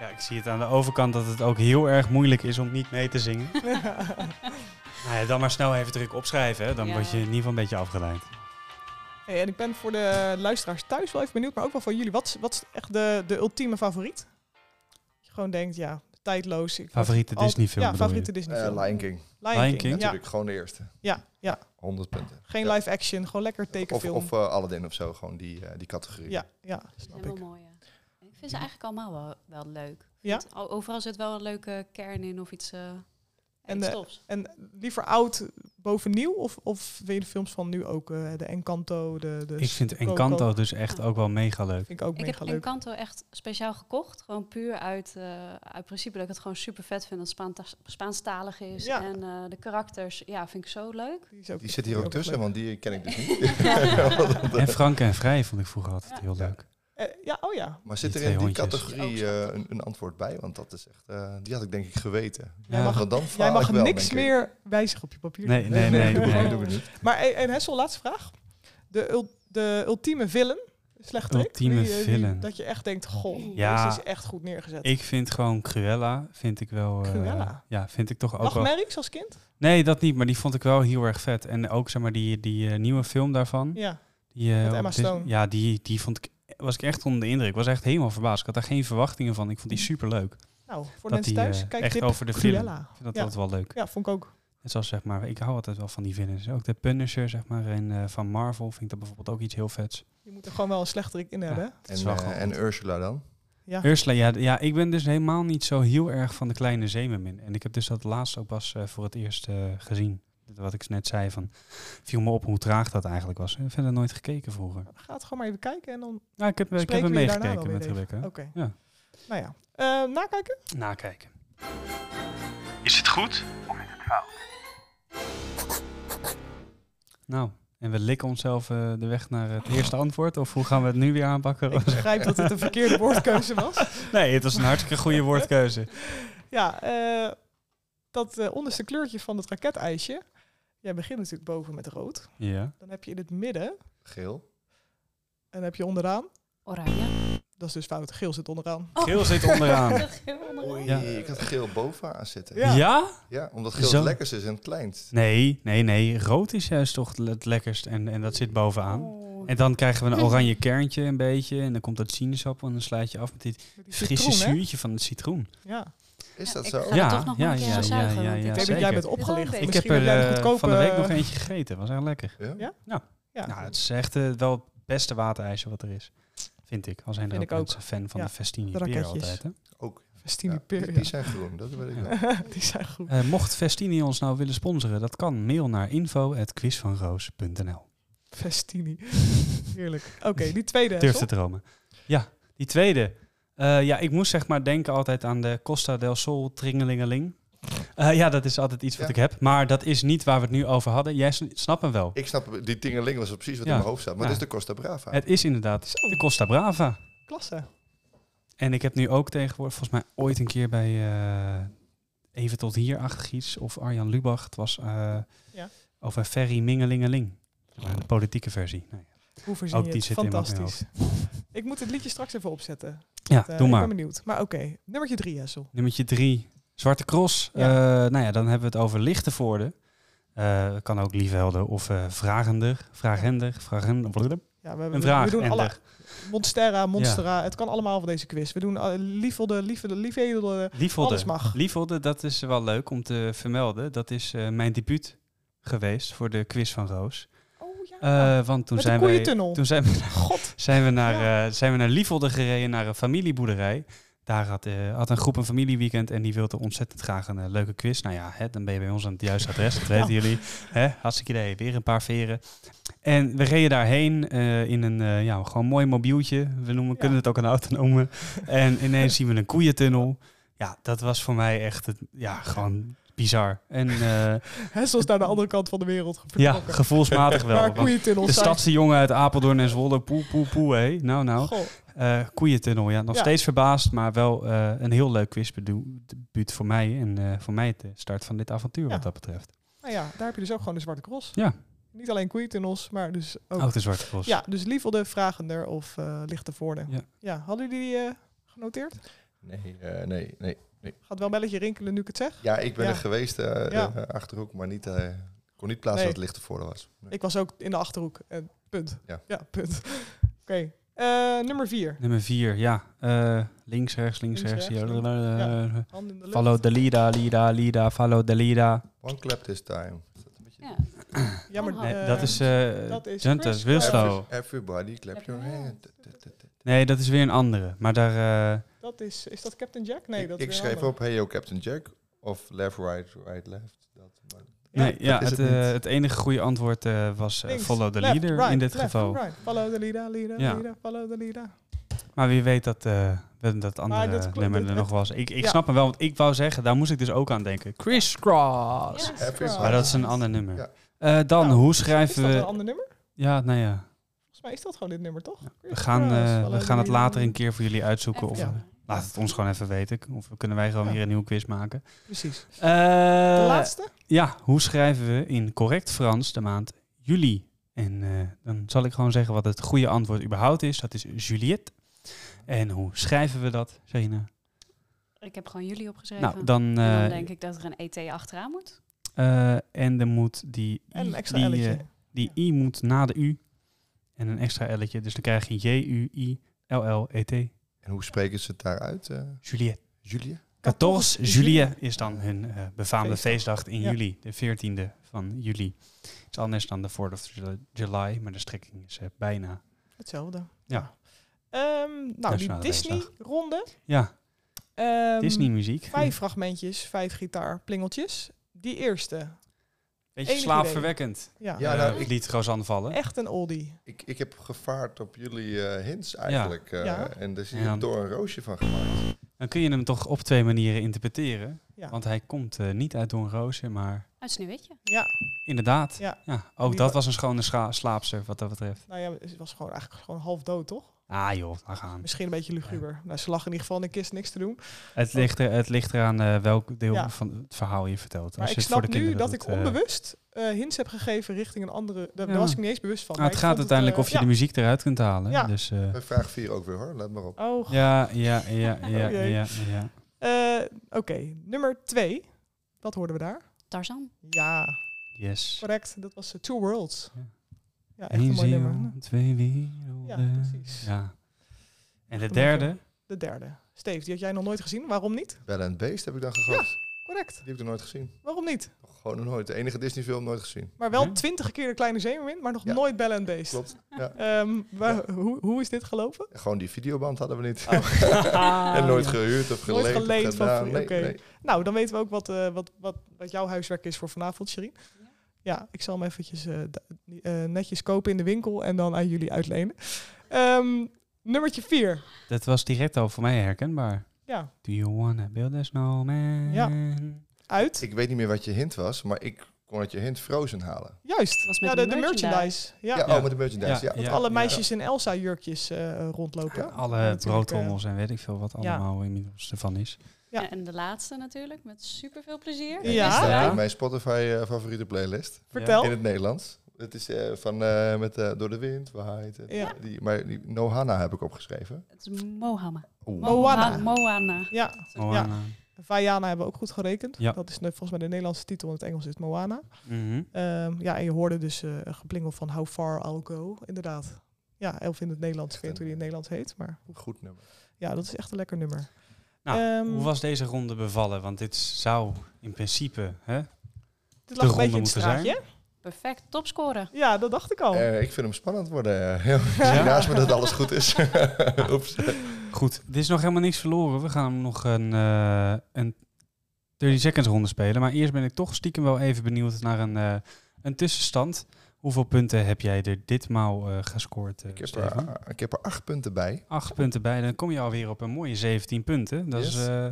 [SPEAKER 1] Ja, ik zie het aan de overkant dat het ook heel erg moeilijk is om niet mee te
[SPEAKER 2] [laughs]
[SPEAKER 1] zingen. nou ja, dan maar snel even druk opschrijven, hè. dan
[SPEAKER 4] Ja.
[SPEAKER 1] word je in ieder geval een beetje afgeleid.
[SPEAKER 2] Hey, en ik ben voor de luisteraars thuis wel even benieuwd, maar ook wel voor jullie. Wat, is- wat is echt de, de ultieme favoriet? Dat Je gewoon denkt, ja, tijdloos. Ik
[SPEAKER 1] Favoriete
[SPEAKER 2] Al-
[SPEAKER 1] Disney-film
[SPEAKER 2] Ja,
[SPEAKER 1] bedoel je?
[SPEAKER 2] favoriete Disney film.
[SPEAKER 3] Eh, Lion King,
[SPEAKER 2] Lion
[SPEAKER 1] Lion
[SPEAKER 2] King,
[SPEAKER 1] King?
[SPEAKER 2] Ja,
[SPEAKER 3] natuurlijk. Gewoon de eerste.
[SPEAKER 2] ja, ja.
[SPEAKER 3] 100 punten.
[SPEAKER 2] Geen
[SPEAKER 3] Ja.
[SPEAKER 2] live action, gewoon lekker
[SPEAKER 3] Of,
[SPEAKER 2] tekenfilm.
[SPEAKER 3] of eh, Aladdin of zo, gewoon die, eh, die categorie.
[SPEAKER 2] ja, ja,
[SPEAKER 4] dat
[SPEAKER 2] snap
[SPEAKER 4] is
[SPEAKER 2] ik.
[SPEAKER 4] wel mooi. ja. Ik vind ze eigenlijk allemaal wel, wel leuk. Ik
[SPEAKER 2] Ja?
[SPEAKER 4] vind o- Overal zit wel een leuke kern in of iets, eh
[SPEAKER 2] En,
[SPEAKER 4] iets
[SPEAKER 2] eh,
[SPEAKER 4] tofs.
[SPEAKER 2] En liever oud boven nieuw? Of, of wil je de films van nu ook? eh, de Encanto, de, de
[SPEAKER 1] Ik vind
[SPEAKER 2] Coco,
[SPEAKER 1] Encanto dus echt
[SPEAKER 4] Ja.
[SPEAKER 1] ook wel mega
[SPEAKER 2] [laughs]
[SPEAKER 1] leuk.
[SPEAKER 2] vind ik ook
[SPEAKER 4] Ik heb
[SPEAKER 2] mega leuk.
[SPEAKER 4] Encanto echt speciaal gekocht. Gewoon puur uit, eh, uit principe dat ik het gewoon super vet vind dat het Spaanta- Spaanstalig is.
[SPEAKER 2] Ja.
[SPEAKER 4] En eh, de karakters, ja, vind ik zo leuk.
[SPEAKER 2] Die, is ook-
[SPEAKER 3] Die zit hier
[SPEAKER 2] vind
[SPEAKER 3] ook
[SPEAKER 2] ik
[SPEAKER 3] tussen,
[SPEAKER 2] leuk.
[SPEAKER 3] want die ken ik
[SPEAKER 2] [laughs]
[SPEAKER 3] dus niet.
[SPEAKER 1] En Frank en Vrij vond ik vroeger altijd heel
[SPEAKER 3] Ja.
[SPEAKER 1] leuk.
[SPEAKER 2] Eh, ja, oh ja.
[SPEAKER 3] [laughs] Maar zit
[SPEAKER 1] Die
[SPEAKER 3] er in
[SPEAKER 1] twee
[SPEAKER 3] die
[SPEAKER 1] hondjes.
[SPEAKER 4] Oh,
[SPEAKER 3] categorie eh, een, een antwoord bij? Want dat is echt, eh, die had ik denk ik geweten.
[SPEAKER 2] Jij
[SPEAKER 1] Ja.
[SPEAKER 2] mag,
[SPEAKER 3] Want dan
[SPEAKER 2] jij
[SPEAKER 3] faal
[SPEAKER 2] mag
[SPEAKER 3] ik wel,
[SPEAKER 2] niks
[SPEAKER 3] denk ik.
[SPEAKER 2] meer wijzigen op je papier.
[SPEAKER 1] Nee, nee, nee.
[SPEAKER 3] doe
[SPEAKER 1] nee.
[SPEAKER 3] maar, doe maar niet.
[SPEAKER 2] Maar eh, en Hessel, laatste vraag. De, ul- de ultieme villain, slecht
[SPEAKER 1] Ultieme villain.
[SPEAKER 2] eh, dat je echt denkt, goh,
[SPEAKER 1] Ja.
[SPEAKER 2] deze is echt goed neergezet.
[SPEAKER 1] Ik vind gewoon Cruella, vind ik wel... eh,
[SPEAKER 2] Cruella?
[SPEAKER 1] Ja, vind ik toch ook
[SPEAKER 2] Lag
[SPEAKER 1] wel...
[SPEAKER 2] Merix als kind?
[SPEAKER 1] Nee, dat niet, maar die vond ik wel heel erg vet. En ook zeg maar die, die eh, nieuwe film daarvan.
[SPEAKER 2] Ja.
[SPEAKER 1] Die, eh,
[SPEAKER 2] Met
[SPEAKER 1] op
[SPEAKER 2] Emma
[SPEAKER 1] Dis-
[SPEAKER 2] Stone.
[SPEAKER 1] Ja, die, die vond ik, was ik echt onder de indruk. Ik was echt helemaal verbaasd. Ik had daar geen verwachtingen van. Ik vond die superleuk. Ik
[SPEAKER 2] Nou, voor
[SPEAKER 1] Dat
[SPEAKER 2] de mensen
[SPEAKER 1] die,
[SPEAKER 2] thuis,
[SPEAKER 1] eh,
[SPEAKER 2] kijk
[SPEAKER 1] echt
[SPEAKER 2] dit
[SPEAKER 1] over de
[SPEAKER 2] Cruella.
[SPEAKER 1] vind dat
[SPEAKER 2] Ja.
[SPEAKER 1] altijd wel leuk.
[SPEAKER 2] Ja, vond ik ook.
[SPEAKER 1] Net zoals zeg maar, ik hou altijd wel van die villains. Ook de Punisher zeg maar en eh, van Marvel vind ik dat bijvoorbeeld ook iets heel vets.
[SPEAKER 2] Je moet er gewoon wel een slechterik in hebben. hè?
[SPEAKER 1] [laughs] Het
[SPEAKER 3] En,
[SPEAKER 1] is wel
[SPEAKER 3] eh,
[SPEAKER 1] gewoon
[SPEAKER 3] en Ursula dan?
[SPEAKER 2] Ja.
[SPEAKER 1] Ursula, ja, d- ja, ik ben dus helemaal niet zo heel erg van de kleine zeemermin. En ik heb dus dat laatst ook pas eh, voor het eerst eh, gezien. Wat ik net zei, van, viel me op hoe traag dat eigenlijk was. Ik heb verder nooit gekeken vroeger.
[SPEAKER 2] Ga het gewoon maar even kijken en dan...
[SPEAKER 1] Nou, ik heb, ik heb
[SPEAKER 2] Spreken
[SPEAKER 1] hem
[SPEAKER 2] we je daarna
[SPEAKER 1] meegekeken
[SPEAKER 2] wel
[SPEAKER 1] met
[SPEAKER 2] weer even?
[SPEAKER 1] Rebecca.
[SPEAKER 2] Oké.
[SPEAKER 1] Ja.
[SPEAKER 2] Nou ja. Eh, nakijken?
[SPEAKER 1] Nakijken. Is het goed of is het fout? Nou, en we likken onszelf eh, de weg naar het eerste antwoord. Of hoe gaan we het nu weer aanpakken?
[SPEAKER 2] Ik begrijp dat dit een verkeerde woordkeuze was.
[SPEAKER 1] [laughs] nee, het was een hartstikke goede woordkeuze.
[SPEAKER 2] Ja, eh, dat eh, onderste kleurtje van het raketijsje. Jij begint natuurlijk boven met rood.
[SPEAKER 1] Ja.
[SPEAKER 2] Dan heb je in het midden, en
[SPEAKER 3] Geel.
[SPEAKER 2] dan heb je onderaan.
[SPEAKER 4] Oranje.
[SPEAKER 2] Dat is dus fout, geel zit onderaan.
[SPEAKER 1] Geel zit
[SPEAKER 2] Ah.
[SPEAKER 1] onderaan.
[SPEAKER 4] Geel onderaan.
[SPEAKER 3] Oei,
[SPEAKER 1] Ja.
[SPEAKER 3] ik had geel bovenaan
[SPEAKER 2] [laughs]
[SPEAKER 3] zitten.
[SPEAKER 2] Ja.
[SPEAKER 1] Ja?
[SPEAKER 3] Ja, omdat geel
[SPEAKER 1] Zo.
[SPEAKER 3] het lekkerst is en het kleinst.
[SPEAKER 1] Nee, nee, nee. Rood is juist toch het lekkerst en, en dat zit bovenaan.
[SPEAKER 2] Oh.
[SPEAKER 4] Oeh.
[SPEAKER 1] En dan krijgen we een oranje kerntje een beetje. En dan komt dat sinaasappel en dan sluit je af met dit
[SPEAKER 2] Met die
[SPEAKER 1] frisse
[SPEAKER 2] citroen, hè?
[SPEAKER 1] zuurtje van het citroen.
[SPEAKER 2] Ja.
[SPEAKER 3] Is
[SPEAKER 4] Ja,
[SPEAKER 3] dat
[SPEAKER 4] ik
[SPEAKER 3] zo?
[SPEAKER 4] ga
[SPEAKER 1] Ja,
[SPEAKER 4] er toch nog
[SPEAKER 1] ja,
[SPEAKER 4] maar een keer
[SPEAKER 1] ja,
[SPEAKER 4] aan
[SPEAKER 1] ja,
[SPEAKER 4] zuigen.
[SPEAKER 1] ja,
[SPEAKER 4] want
[SPEAKER 1] ja.
[SPEAKER 4] ik-
[SPEAKER 2] Ik weet
[SPEAKER 1] zeker.
[SPEAKER 2] dat jij bent opgelicht.
[SPEAKER 4] Ik heb
[SPEAKER 2] Misschien
[SPEAKER 1] er
[SPEAKER 2] wil jij een
[SPEAKER 1] eh,
[SPEAKER 2] goedkope-
[SPEAKER 1] van de week nog eentje gegeten. Was echt lekker.
[SPEAKER 2] Ja,
[SPEAKER 1] Nou, het is echt eh, wel het beste waterijsje wat er is. Vind ik. Al zijn er
[SPEAKER 2] Vind
[SPEAKER 1] ook,
[SPEAKER 2] ik ook.
[SPEAKER 1] mensen fan van
[SPEAKER 2] Ja,
[SPEAKER 1] de Festini
[SPEAKER 2] de
[SPEAKER 1] Beer
[SPEAKER 2] raketjes.
[SPEAKER 1] altijd. Hè?
[SPEAKER 3] Ook.
[SPEAKER 2] Festini
[SPEAKER 3] Ja,
[SPEAKER 2] Peer,
[SPEAKER 3] die, die zijn groen, dat weet ik wel.
[SPEAKER 2] ja. [laughs] Die zijn goed.
[SPEAKER 1] Eh, mocht Festini ons nou willen sponsoren, dat kan. Mail naar info.quizvanroos.nl [laughs]
[SPEAKER 2] Festini. Heerlijk. Oké, die tweede.
[SPEAKER 1] Durf
[SPEAKER 2] Sol?
[SPEAKER 1] te dromen. Ja, die tweede. Eh, ja, ik moest zeg maar denken altijd aan de Costa del Sol Tringelingeling. Eh, ja, dat is altijd iets wat
[SPEAKER 3] Ja.
[SPEAKER 1] ik heb. Maar dat is niet waar we het nu over hadden. Jij sn- snapt hem wel.
[SPEAKER 3] Ik snap, die tingeling was precies wat
[SPEAKER 1] Ja.
[SPEAKER 3] in mijn hoofd staat. Maar
[SPEAKER 1] Ja.
[SPEAKER 3] dit is de Costa Brava.
[SPEAKER 1] Het is inderdaad
[SPEAKER 2] Zo.
[SPEAKER 1] de Costa Brava.
[SPEAKER 2] Klasse.
[SPEAKER 1] En ik heb nu ook tegenwoordig, volgens mij ooit een keer bij eh, Even tot hier-achtig iets, of Arjan Lubach, het was eh,
[SPEAKER 2] Ja.
[SPEAKER 1] over Ferry Mingelingeling. Maar De politieke versie. Nou ja.
[SPEAKER 2] Hoe voorzien
[SPEAKER 1] Ook
[SPEAKER 2] je
[SPEAKER 1] die
[SPEAKER 2] het?
[SPEAKER 1] zit in mijn
[SPEAKER 2] Fantastisch. Ik moet het liedje straks even opzetten.
[SPEAKER 1] ja,
[SPEAKER 2] Eh,
[SPEAKER 1] doe
[SPEAKER 2] Ik
[SPEAKER 1] maar.
[SPEAKER 2] ben benieuwd. Maar oké, nummertje drie, Hessel.
[SPEAKER 1] Nummertje drie, Zwarte Cross.
[SPEAKER 2] Ja.
[SPEAKER 1] Eh, nou ja, dan hebben we het over Lichtenvoorde. Eh kan ook Lievelde of eh Vragender, Vragender, Vragender.
[SPEAKER 2] Ja, we,
[SPEAKER 1] Een
[SPEAKER 2] we,
[SPEAKER 1] vraag
[SPEAKER 2] we doen
[SPEAKER 1] en
[SPEAKER 2] alle
[SPEAKER 1] weg.
[SPEAKER 2] Monstera, Monstera. Het kan allemaal van deze quiz. We doen eh, liefelde, liefelde, liefelde. Alles
[SPEAKER 1] Lievelde.
[SPEAKER 2] mag.
[SPEAKER 1] Lievelde, dat is wel leuk om te vermelden. Dat is eh, mijn debuut geweest voor de quiz van Roos.
[SPEAKER 2] Oh ja.
[SPEAKER 1] Eh, want toen
[SPEAKER 2] Met de
[SPEAKER 1] zijn we
[SPEAKER 2] koeientunnel.
[SPEAKER 1] toen zijn we
[SPEAKER 2] God.
[SPEAKER 1] zijn we naar, eh, zijn we naar Lievelde gereden, naar een familieboerderij. Daar had, eh, had een groep een familieweekend en die wilde ontzettend graag een eh, leuke quiz. Nou ja, hè, dan ben je bij ons aan het juiste adres, dat weten jullie. Hè, hartstikke idee, weer een paar veren. En we reden daarheen eh, in een eh, ja, gewoon mooi mobieltje. We noemen,
[SPEAKER 2] Ja.
[SPEAKER 1] kunnen het ook een auto noemen. En ineens zien we een koeientunnel. Ja, dat was voor mij echt het, ja, gewoon bizar. En eh,
[SPEAKER 2] Hessel is naar de andere kant van de wereld
[SPEAKER 1] ja,
[SPEAKER 2] vertrokken.
[SPEAKER 1] gevoelsmatig wel.
[SPEAKER 2] Waar
[SPEAKER 1] want
[SPEAKER 2] koeientunnels
[SPEAKER 1] de
[SPEAKER 2] zijn.
[SPEAKER 1] stadse jongen uit Apeldoorn en Zwolle, poe, poe, poe, hé. Nou, nou.
[SPEAKER 2] Goh,
[SPEAKER 1] Eh, koeientunnel, ja. Nog
[SPEAKER 2] Ja.
[SPEAKER 1] steeds verbaasd, maar wel eh, een heel leuk quizdebuut voor mij. En eh, voor mij de start van dit avontuur
[SPEAKER 2] Ja.
[SPEAKER 1] wat dat betreft.
[SPEAKER 2] nou ja, daar heb je dus ook gewoon de Zwarte Cross.
[SPEAKER 1] Ja.
[SPEAKER 2] Niet alleen koeientunnels, maar dus ook...
[SPEAKER 1] Ook, de Zwarte Cross.
[SPEAKER 2] ja, dus liefelde, vragender of eh lichte voorde.
[SPEAKER 1] Ja.
[SPEAKER 2] hadden jullie die eh, genoteerd?
[SPEAKER 3] Nee, eh, nee, nee.
[SPEAKER 2] Gaat wel een belletje rinkelen nu ik het zeg.
[SPEAKER 3] Ja, ik ben
[SPEAKER 2] Ja.
[SPEAKER 3] er geweest, eh
[SPEAKER 2] Ja.
[SPEAKER 3] de Achterhoek, maar niet, eh, kon niet plaatsen
[SPEAKER 2] Nee.
[SPEAKER 3] dat het licht ervoor was. Nee.
[SPEAKER 2] Ik was ook in de Achterhoek. En punt.
[SPEAKER 3] Ja.
[SPEAKER 2] punt. [laughs] Oké. Eh, nummer vier.
[SPEAKER 1] Nummer vier, ja. Eh, links, rechts, links,
[SPEAKER 2] Links,
[SPEAKER 1] rechts.
[SPEAKER 2] rechts,
[SPEAKER 1] ja,
[SPEAKER 2] links.
[SPEAKER 1] eh,
[SPEAKER 2] Hand in de lucht. Oh,
[SPEAKER 1] Follow the leader, leader, leader, follow the leader.
[SPEAKER 3] One clap this time. Is dat een beetje-
[SPEAKER 4] Ja.
[SPEAKER 2] Ja, maar,
[SPEAKER 1] Nee,
[SPEAKER 2] eh,
[SPEAKER 1] dat is, eh
[SPEAKER 2] dat is
[SPEAKER 1] Junta
[SPEAKER 2] Chris
[SPEAKER 1] Wilslow.
[SPEAKER 3] Every- Everybody clap your hand.
[SPEAKER 1] Nee, dat is weer een andere. Maar daar... eh,
[SPEAKER 2] dat is... Is dat Captain Jack? Nee,
[SPEAKER 3] ik,
[SPEAKER 2] dat
[SPEAKER 3] ik
[SPEAKER 2] is weer een
[SPEAKER 3] schreef
[SPEAKER 2] ander.
[SPEAKER 3] op, hey yo Captain Jack. Of left, right, right, left. Dat, maar-
[SPEAKER 2] Ja,
[SPEAKER 1] nee, ja,
[SPEAKER 3] dat is
[SPEAKER 1] het,
[SPEAKER 3] het
[SPEAKER 1] eh,
[SPEAKER 3] niet.
[SPEAKER 1] het enige goede antwoord eh, was eh,
[SPEAKER 2] Links,
[SPEAKER 1] follow the
[SPEAKER 2] left,
[SPEAKER 1] leader
[SPEAKER 2] right,
[SPEAKER 1] in dit
[SPEAKER 2] left,
[SPEAKER 1] geval.
[SPEAKER 2] Right. Follow the leader, leader,
[SPEAKER 1] Ja.
[SPEAKER 2] leader, follow the leader.
[SPEAKER 1] Maar wie weet dat, eh, dat dat andere
[SPEAKER 2] dat klopt,
[SPEAKER 1] nummer
[SPEAKER 2] dat-
[SPEAKER 1] er nog was. Ik, ik
[SPEAKER 2] ja.
[SPEAKER 1] snap hem wel, want ik wou zeggen, daar moest ik dus ook aan denken. Chris Cross.
[SPEAKER 4] Ja.
[SPEAKER 3] Everybody.
[SPEAKER 1] Maar dat is een ander nummer.
[SPEAKER 3] Ja.
[SPEAKER 1] Eh, dan,
[SPEAKER 2] Nou,
[SPEAKER 1] hoe
[SPEAKER 2] Is
[SPEAKER 1] schrijven
[SPEAKER 2] dat een
[SPEAKER 1] we...
[SPEAKER 2] ander nummer?
[SPEAKER 1] Ja, nou ja.
[SPEAKER 2] Volgens mij is dat gewoon dit nummer, toch?
[SPEAKER 1] We gaan, eh, we gaan het later een keer voor jullie uitzoeken.
[SPEAKER 4] Even
[SPEAKER 1] Of, eh,
[SPEAKER 2] Ja.
[SPEAKER 1] we- Laat het ons gewoon even weten. Of kunnen wij gewoon
[SPEAKER 2] Ja.
[SPEAKER 1] weer een nieuwe quiz maken.
[SPEAKER 2] Precies.
[SPEAKER 1] Eh,
[SPEAKER 2] De laatste?
[SPEAKER 1] Ja, hoe schrijven we in correct Frans de maand juli? En eh, dan zal ik gewoon zeggen wat het goede antwoord überhaupt is. Dat is Juliette. En hoe schrijven we dat, Zena?
[SPEAKER 4] Ik heb gewoon jullie opgeschreven.
[SPEAKER 1] Nou, dan...
[SPEAKER 4] en
[SPEAKER 1] eh,
[SPEAKER 4] dan denk ik dat er een E ET achteraan moet.
[SPEAKER 1] Eh, en dan moet die, I-
[SPEAKER 2] En een extra
[SPEAKER 1] die,
[SPEAKER 2] elletje.
[SPEAKER 1] eh, die i moet na de u en een extra l'tje. Dus dan krijg je J-U-I-L-L-E-T.
[SPEAKER 3] En hoe spreken ze het daaruit, eh
[SPEAKER 1] E Juliet.
[SPEAKER 3] Julia?
[SPEAKER 1] 14 juillet is dan hun eh, befaamde
[SPEAKER 2] Feestdag.
[SPEAKER 1] feestdag in
[SPEAKER 2] Ja.
[SPEAKER 1] juli. De 14e van juli. Iets anders dan de 4th of Jul- July, maar de strekking is eh, bijna.
[SPEAKER 2] Hetzelfde.
[SPEAKER 1] Ja.
[SPEAKER 2] Ehm, nou, die
[SPEAKER 1] Nationale
[SPEAKER 2] Disney-ronde.
[SPEAKER 1] Ja,
[SPEAKER 2] Ehm,
[SPEAKER 1] Disney muziek.
[SPEAKER 2] Vijf fragmentjes, vijf gitaarplingeltjes. Die eerste,
[SPEAKER 1] Beetje
[SPEAKER 2] enig
[SPEAKER 1] slaafverwekkend.
[SPEAKER 2] ja.
[SPEAKER 3] Ja,
[SPEAKER 1] eh,
[SPEAKER 3] nou,
[SPEAKER 1] het
[SPEAKER 3] ik-
[SPEAKER 1] liet Rosanne vallen.
[SPEAKER 2] Echt een oldie.
[SPEAKER 3] Ik, ik heb gevaard op jullie eh, hints eigenlijk. eh,
[SPEAKER 2] Ja.
[SPEAKER 3] En daar zie
[SPEAKER 1] Ja.
[SPEAKER 3] je door een roosje van gemaakt.
[SPEAKER 1] Dan kun je hem toch op twee manieren interpreteren.
[SPEAKER 2] Ja.
[SPEAKER 1] Want hij komt eh, niet uit Don Roosje, maar
[SPEAKER 4] Uit Sneeuwwitje.
[SPEAKER 2] Ja,
[SPEAKER 1] Inderdaad.
[SPEAKER 2] Ja.
[SPEAKER 1] Ja. ook dat
[SPEAKER 2] wa-
[SPEAKER 1] was een schone scha- slaapster wat dat betreft.
[SPEAKER 2] nou ja, het was gewoon eigenlijk gewoon half dood, toch?
[SPEAKER 1] Ah joh, daar gaan.
[SPEAKER 2] Misschien een beetje luguber. Nou, ze lag in ieder geval in de kist niks te doen.
[SPEAKER 1] Het ligt, er, het ligt eraan eh, welk deel
[SPEAKER 2] Ja.
[SPEAKER 1] van het verhaal je vertelt.
[SPEAKER 2] Maar
[SPEAKER 1] Als je
[SPEAKER 2] ik
[SPEAKER 1] het voor
[SPEAKER 2] snap
[SPEAKER 1] de
[SPEAKER 2] nu dat
[SPEAKER 1] kinderen doet,
[SPEAKER 2] ik
[SPEAKER 1] eh,
[SPEAKER 2] onbewust eh hints heb gegeven richting een andere... Daar, daar
[SPEAKER 1] Ja.
[SPEAKER 2] was ik niet eens bewust van.
[SPEAKER 1] nou, het
[SPEAKER 2] maar
[SPEAKER 1] gaat
[SPEAKER 2] ik vond
[SPEAKER 1] uiteindelijk of je
[SPEAKER 2] eh,
[SPEAKER 1] de muziek eruit kunt halen.
[SPEAKER 2] Ja.
[SPEAKER 1] Dus, eh,
[SPEAKER 3] Bij vraag 4 ook weer hoor, let maar op.
[SPEAKER 2] ja. Oh,
[SPEAKER 1] ja, ja, ja,
[SPEAKER 2] [laughs]
[SPEAKER 1] ja,
[SPEAKER 2] Oké.
[SPEAKER 1] ja, ja.
[SPEAKER 2] eh, oké. Nummer twee. Wat hoorden we daar?
[SPEAKER 4] Tarzan.
[SPEAKER 2] Ja,
[SPEAKER 1] Yes.
[SPEAKER 2] correct. Dat was eh, Two Worlds.
[SPEAKER 1] Ja.
[SPEAKER 2] Ja, echt een
[SPEAKER 1] Eén
[SPEAKER 2] mooi nummer.
[SPEAKER 1] ziel, twee werelden.
[SPEAKER 2] Ja, precies.
[SPEAKER 1] Ja. En de
[SPEAKER 2] Goed
[SPEAKER 1] derde,
[SPEAKER 2] De derde. Steve, die had jij nog nooit gezien. Waarom niet?
[SPEAKER 3] Bella en het Beest heb ik dan gegooid.
[SPEAKER 2] Correct.
[SPEAKER 3] Die heb ik nog nooit gezien.
[SPEAKER 2] Waarom niet?
[SPEAKER 3] Gewoon nog nooit. De enige Disney-film nooit gezien.
[SPEAKER 2] Maar wel
[SPEAKER 1] Hm?
[SPEAKER 2] twintig keer de kleine zeemermin, maar nog
[SPEAKER 3] Ja.
[SPEAKER 2] nooit Belle en het Beest.
[SPEAKER 3] Klopt. Ja.
[SPEAKER 2] Ehm, waar- hoe, hoe is dit gelopen?
[SPEAKER 3] Gewoon die videoband hadden we
[SPEAKER 2] [laughs]
[SPEAKER 3] niet.
[SPEAKER 1] Ah,
[SPEAKER 3] [laughs] en nooit
[SPEAKER 1] ja.
[SPEAKER 3] gehuurd of
[SPEAKER 2] Oh. Nooit
[SPEAKER 3] geleend. of
[SPEAKER 2] geleend van
[SPEAKER 3] gedaan.
[SPEAKER 2] vrie-
[SPEAKER 3] nee,
[SPEAKER 2] oké.
[SPEAKER 3] nee.
[SPEAKER 2] Nou, dan weten we ook wat, eh, wat, wat, wat jouw huiswerk is voor vanavond, Sherine.
[SPEAKER 4] Ja.
[SPEAKER 2] Ja, ik zal hem eventjes eh, da- eh, netjes kopen in de winkel en dan aan jullie uitlenen. Ehm, nummertje 4.
[SPEAKER 1] Dat was direct al voor mij herkenbaar.
[SPEAKER 2] Ja,
[SPEAKER 1] Do you wanna build a snowman?
[SPEAKER 2] Ja. uit.
[SPEAKER 3] Ik weet niet meer wat je hint was, maar ik kon uit je hint Frozen halen.
[SPEAKER 2] Juist.
[SPEAKER 4] Was met
[SPEAKER 2] Ja,
[SPEAKER 4] de
[SPEAKER 2] de, de merchandise.
[SPEAKER 4] merchandise.
[SPEAKER 2] Ja.
[SPEAKER 3] Ja,
[SPEAKER 1] Ja.
[SPEAKER 3] oh, met de merchandise.
[SPEAKER 1] Ja,
[SPEAKER 3] Ja,
[SPEAKER 1] ja.
[SPEAKER 2] Dat alle meisjes in Elsa-jurkjes eh, rondlopen. Ja.
[SPEAKER 1] [laughs] Alle
[SPEAKER 2] natuurlijk, eh,
[SPEAKER 1] broodtrommels en weet ik veel wat
[SPEAKER 2] ja.
[SPEAKER 1] allemaal inmiddels ervan is.
[SPEAKER 2] Ja.
[SPEAKER 4] En de laatste natuurlijk, met superveel plezier.
[SPEAKER 3] Ja,
[SPEAKER 2] Ja?
[SPEAKER 3] Die staat
[SPEAKER 1] Ja.
[SPEAKER 3] op mijn Spotify-favoriete playlist.
[SPEAKER 2] eh, Vertel.
[SPEAKER 3] In het Nederlands. Het is eh, van eh, met, eh, Door de Wind, Waait. eh,
[SPEAKER 2] Ja.
[SPEAKER 3] Die, maar die Nohana heb ik opgeschreven.
[SPEAKER 4] Het is Mohama.
[SPEAKER 3] Oeh.
[SPEAKER 2] Moana.
[SPEAKER 4] Moana.
[SPEAKER 2] Ja,
[SPEAKER 1] Moana.
[SPEAKER 2] Vaiana hebben we ook goed gerekend.
[SPEAKER 1] Ja.
[SPEAKER 2] Dat is de- volgens mij de Nederlandse titel, in het Engels is het Moana.
[SPEAKER 1] mhm.
[SPEAKER 2] Ehm, ja, en je hoorde dus eh, een geplingel van How Far I'll Go, inderdaad. Ja, Elf in het Nederlands. Ik weet niet hoe die in het Nederlands heet, maar
[SPEAKER 3] Goed nummer.
[SPEAKER 2] ja, dat is echt een lekker nummer.
[SPEAKER 1] Nou,
[SPEAKER 2] Ehm,
[SPEAKER 1] Hoe was deze ronde bevallen? Want dit zou in principe... Hè?
[SPEAKER 2] dit
[SPEAKER 1] de
[SPEAKER 2] lag een
[SPEAKER 1] ronde
[SPEAKER 2] beetje in het
[SPEAKER 1] moeten
[SPEAKER 2] straatje. hè?
[SPEAKER 4] Perfect, topscorer.
[SPEAKER 2] Ja, dat dacht ik al.
[SPEAKER 3] Eh, ik vind hem spannend worden. [laughs] Ja. Naast me dat alles goed is. [laughs] Oeps.
[SPEAKER 1] Goed, er is nog helemaal niks verloren. We gaan nog een, eh, een 30 seconds ronde spelen. Maar eerst ben ik toch stiekem wel even benieuwd naar een, eh, een tussenstand. Hoeveel punten heb jij er ditmaal eh, gescoord, eh,
[SPEAKER 3] Ik heb,
[SPEAKER 1] Stefan?
[SPEAKER 3] er, ik heb er acht punten bij.
[SPEAKER 1] [laughs] Acht punten bij, dan kom je alweer op een mooie 17 punten. Dat, is,
[SPEAKER 3] Yes.
[SPEAKER 1] eh,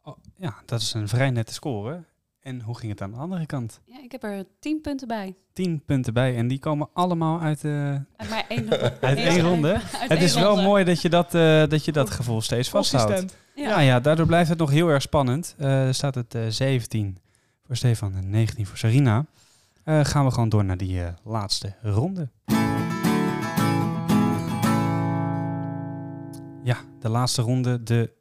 [SPEAKER 1] al- ja, dat is een vrij nette score. En hoe ging het aan de andere kant?
[SPEAKER 4] Ja, ik heb er tien punten bij.
[SPEAKER 1] 10 punten bij en die komen allemaal uit... eh
[SPEAKER 4] Uit maar één ronde.
[SPEAKER 1] Uit één ronde?
[SPEAKER 4] Uit
[SPEAKER 1] het
[SPEAKER 4] één
[SPEAKER 1] is wel
[SPEAKER 4] ronde.
[SPEAKER 1] mooi dat je dat, eh, dat, je dat gevoel steeds vasthoudt. Nou
[SPEAKER 2] Consistent.
[SPEAKER 4] Ja.
[SPEAKER 1] Ja, ja, daardoor blijft het nog heel erg spannend. Eh staat het eh, 17 voor Stefan en 19 voor Sarina. Eh, gaan we gewoon door naar die eh, laatste ronde. Ja, de laatste ronde, de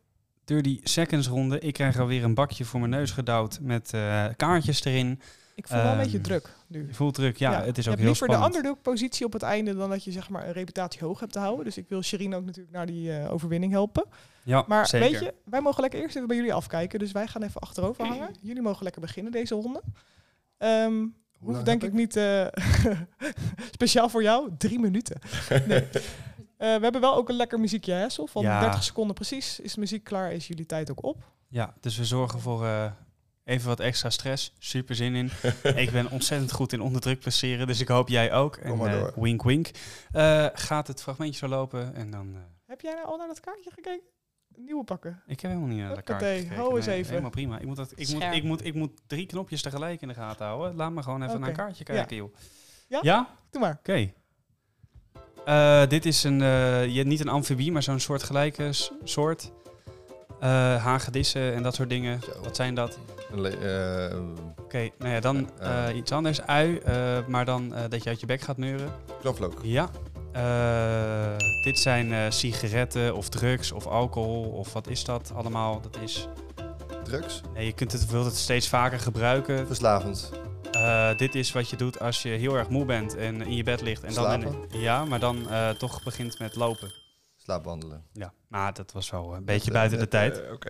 [SPEAKER 1] 30 seconds ronde. Ik krijg alweer een bakje voor mijn neus gedouwd met eh, kaartjes erin.
[SPEAKER 2] Ik voel wel een beetje
[SPEAKER 1] Ehm,
[SPEAKER 2] druk nu.
[SPEAKER 1] Je voelt druk, ja, het is ook
[SPEAKER 2] je
[SPEAKER 1] heel
[SPEAKER 2] hebt liever
[SPEAKER 1] spannend.
[SPEAKER 2] de underdog-positie op het einde dan dat je zeg maar een reputatie hoog hebt te houden. Dus ik wil Sherine ook natuurlijk naar die eh, overwinning helpen.
[SPEAKER 1] Ja,
[SPEAKER 2] Maar
[SPEAKER 1] zeker.
[SPEAKER 2] weet je, wij mogen lekker eerst even bij jullie afkijken. Dus wij gaan even achterover hangen. Jullie mogen lekker beginnen deze ronde. Ehm
[SPEAKER 3] Hoe
[SPEAKER 1] Nou,
[SPEAKER 2] hoeft denk
[SPEAKER 3] lang heb
[SPEAKER 2] ik niet eh, [laughs] speciaal voor jou. Drie
[SPEAKER 1] [laughs]
[SPEAKER 2] minuten. Nee. Eh, we hebben wel ook een lekker muziekje, hè, Sol? Van
[SPEAKER 1] Ja.
[SPEAKER 2] 30 seconden precies. Is de muziek klaar, is jullie tijd ook op.
[SPEAKER 1] Ja, dus we zorgen voor eh, even wat extra stress. Super
[SPEAKER 2] [laughs]
[SPEAKER 1] zin in. ik ben ontzettend goed in onder druk passeren, dus ik hoop jij ook. En
[SPEAKER 3] Kom maar
[SPEAKER 1] eh,
[SPEAKER 3] door.
[SPEAKER 1] wink wink. Eh, gaat het fragmentje zo lopen en dan... eh,
[SPEAKER 2] Heb jij nou al naar dat kaartje gekeken? Nieuwe pakken.
[SPEAKER 1] ik heb helemaal niet naar de kaart
[SPEAKER 2] Hoppatee,
[SPEAKER 1] gekeken.
[SPEAKER 2] hou eens even.
[SPEAKER 1] Helemaal prima. Ik moet, dat, ik, moet,
[SPEAKER 4] Scherp.
[SPEAKER 1] ik, moet, ik moet drie knopjes tegelijk in de gaten houden. Laat me gewoon even
[SPEAKER 2] Oké,
[SPEAKER 1] naar een kaartje
[SPEAKER 2] ja.
[SPEAKER 1] kijken, joh.
[SPEAKER 2] Ja?
[SPEAKER 1] Ja?
[SPEAKER 2] Doe maar.
[SPEAKER 1] Oké. Eh, dit is een, eh, je, niet een amfibie, maar zo'n soort gelijke s- soort. Eh hagedissen en dat soort dingen.
[SPEAKER 3] Zo.
[SPEAKER 1] Wat zijn dat?
[SPEAKER 3] Een le- eh,
[SPEAKER 1] Oké, nou ja, dan
[SPEAKER 3] Eh, eh.
[SPEAKER 1] eh, iets anders. Ui, eh, maar dan eh, dat je uit je bek gaat neuren.
[SPEAKER 3] knoflook.
[SPEAKER 1] Ja. Eh, dit zijn eh, sigaretten of drugs of alcohol of wat is dat allemaal? Dat is...
[SPEAKER 3] Drugs.
[SPEAKER 1] Nee, je kunt het, wilt het steeds vaker gebruiken.
[SPEAKER 3] Verslavend.
[SPEAKER 1] Eh, dit is wat je doet als je heel erg moe bent en in je bed ligt. En dan
[SPEAKER 3] Slapen.
[SPEAKER 1] ja, maar dan eh, toch begint met lopen.
[SPEAKER 3] Slaapwandelen.
[SPEAKER 1] Ja, maar dat was wel een beetje
[SPEAKER 3] Met, eh,
[SPEAKER 1] buiten de
[SPEAKER 3] met,
[SPEAKER 1] tijd.
[SPEAKER 3] eh, Oké.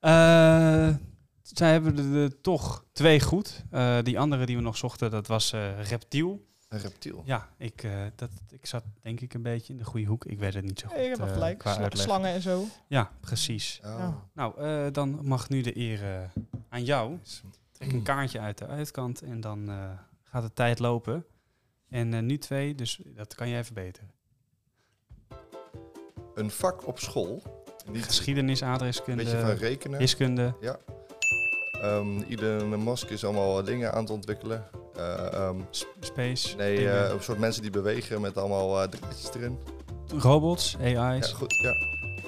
[SPEAKER 1] Eh, zij hebben er, eh, toch twee goed. Eh, die andere die we nog zochten, dat was eh, reptiel.
[SPEAKER 3] Een reptiel.
[SPEAKER 1] Ja, ik, eh, dat, ik zat denk ik een beetje in de goede hoek. Ik weet het niet zo goed.
[SPEAKER 2] Ik heb wel
[SPEAKER 1] eh,
[SPEAKER 2] gelijk.
[SPEAKER 1] qua
[SPEAKER 2] Sla-
[SPEAKER 1] uitleg.
[SPEAKER 2] Slangen en zo.
[SPEAKER 1] Ja, precies.
[SPEAKER 3] Oh.
[SPEAKER 2] Ja.
[SPEAKER 1] Nou, eh, dan mag nu de eer eh, aan jou. Trek
[SPEAKER 3] Hmm.
[SPEAKER 1] een kaartje uit de uitkant en dan eh, gaat de tijd lopen. En eh, nu twee, dus dat kan jij verbeteren.
[SPEAKER 3] Een vak op school. Niet
[SPEAKER 1] Geschiedenis,
[SPEAKER 3] een beetje van
[SPEAKER 1] aardrijkskunde,
[SPEAKER 3] rekenen.
[SPEAKER 1] wiskunde.
[SPEAKER 3] Ehm, iedere mosk is allemaal dingen aan het ontwikkelen. Eh, ehm,
[SPEAKER 1] s- Space,
[SPEAKER 3] nee,
[SPEAKER 1] dingen.
[SPEAKER 3] eh, een soort mensen die bewegen met allemaal eh draadjes erin.
[SPEAKER 1] robots, AI's,
[SPEAKER 3] Ja, goed, ja.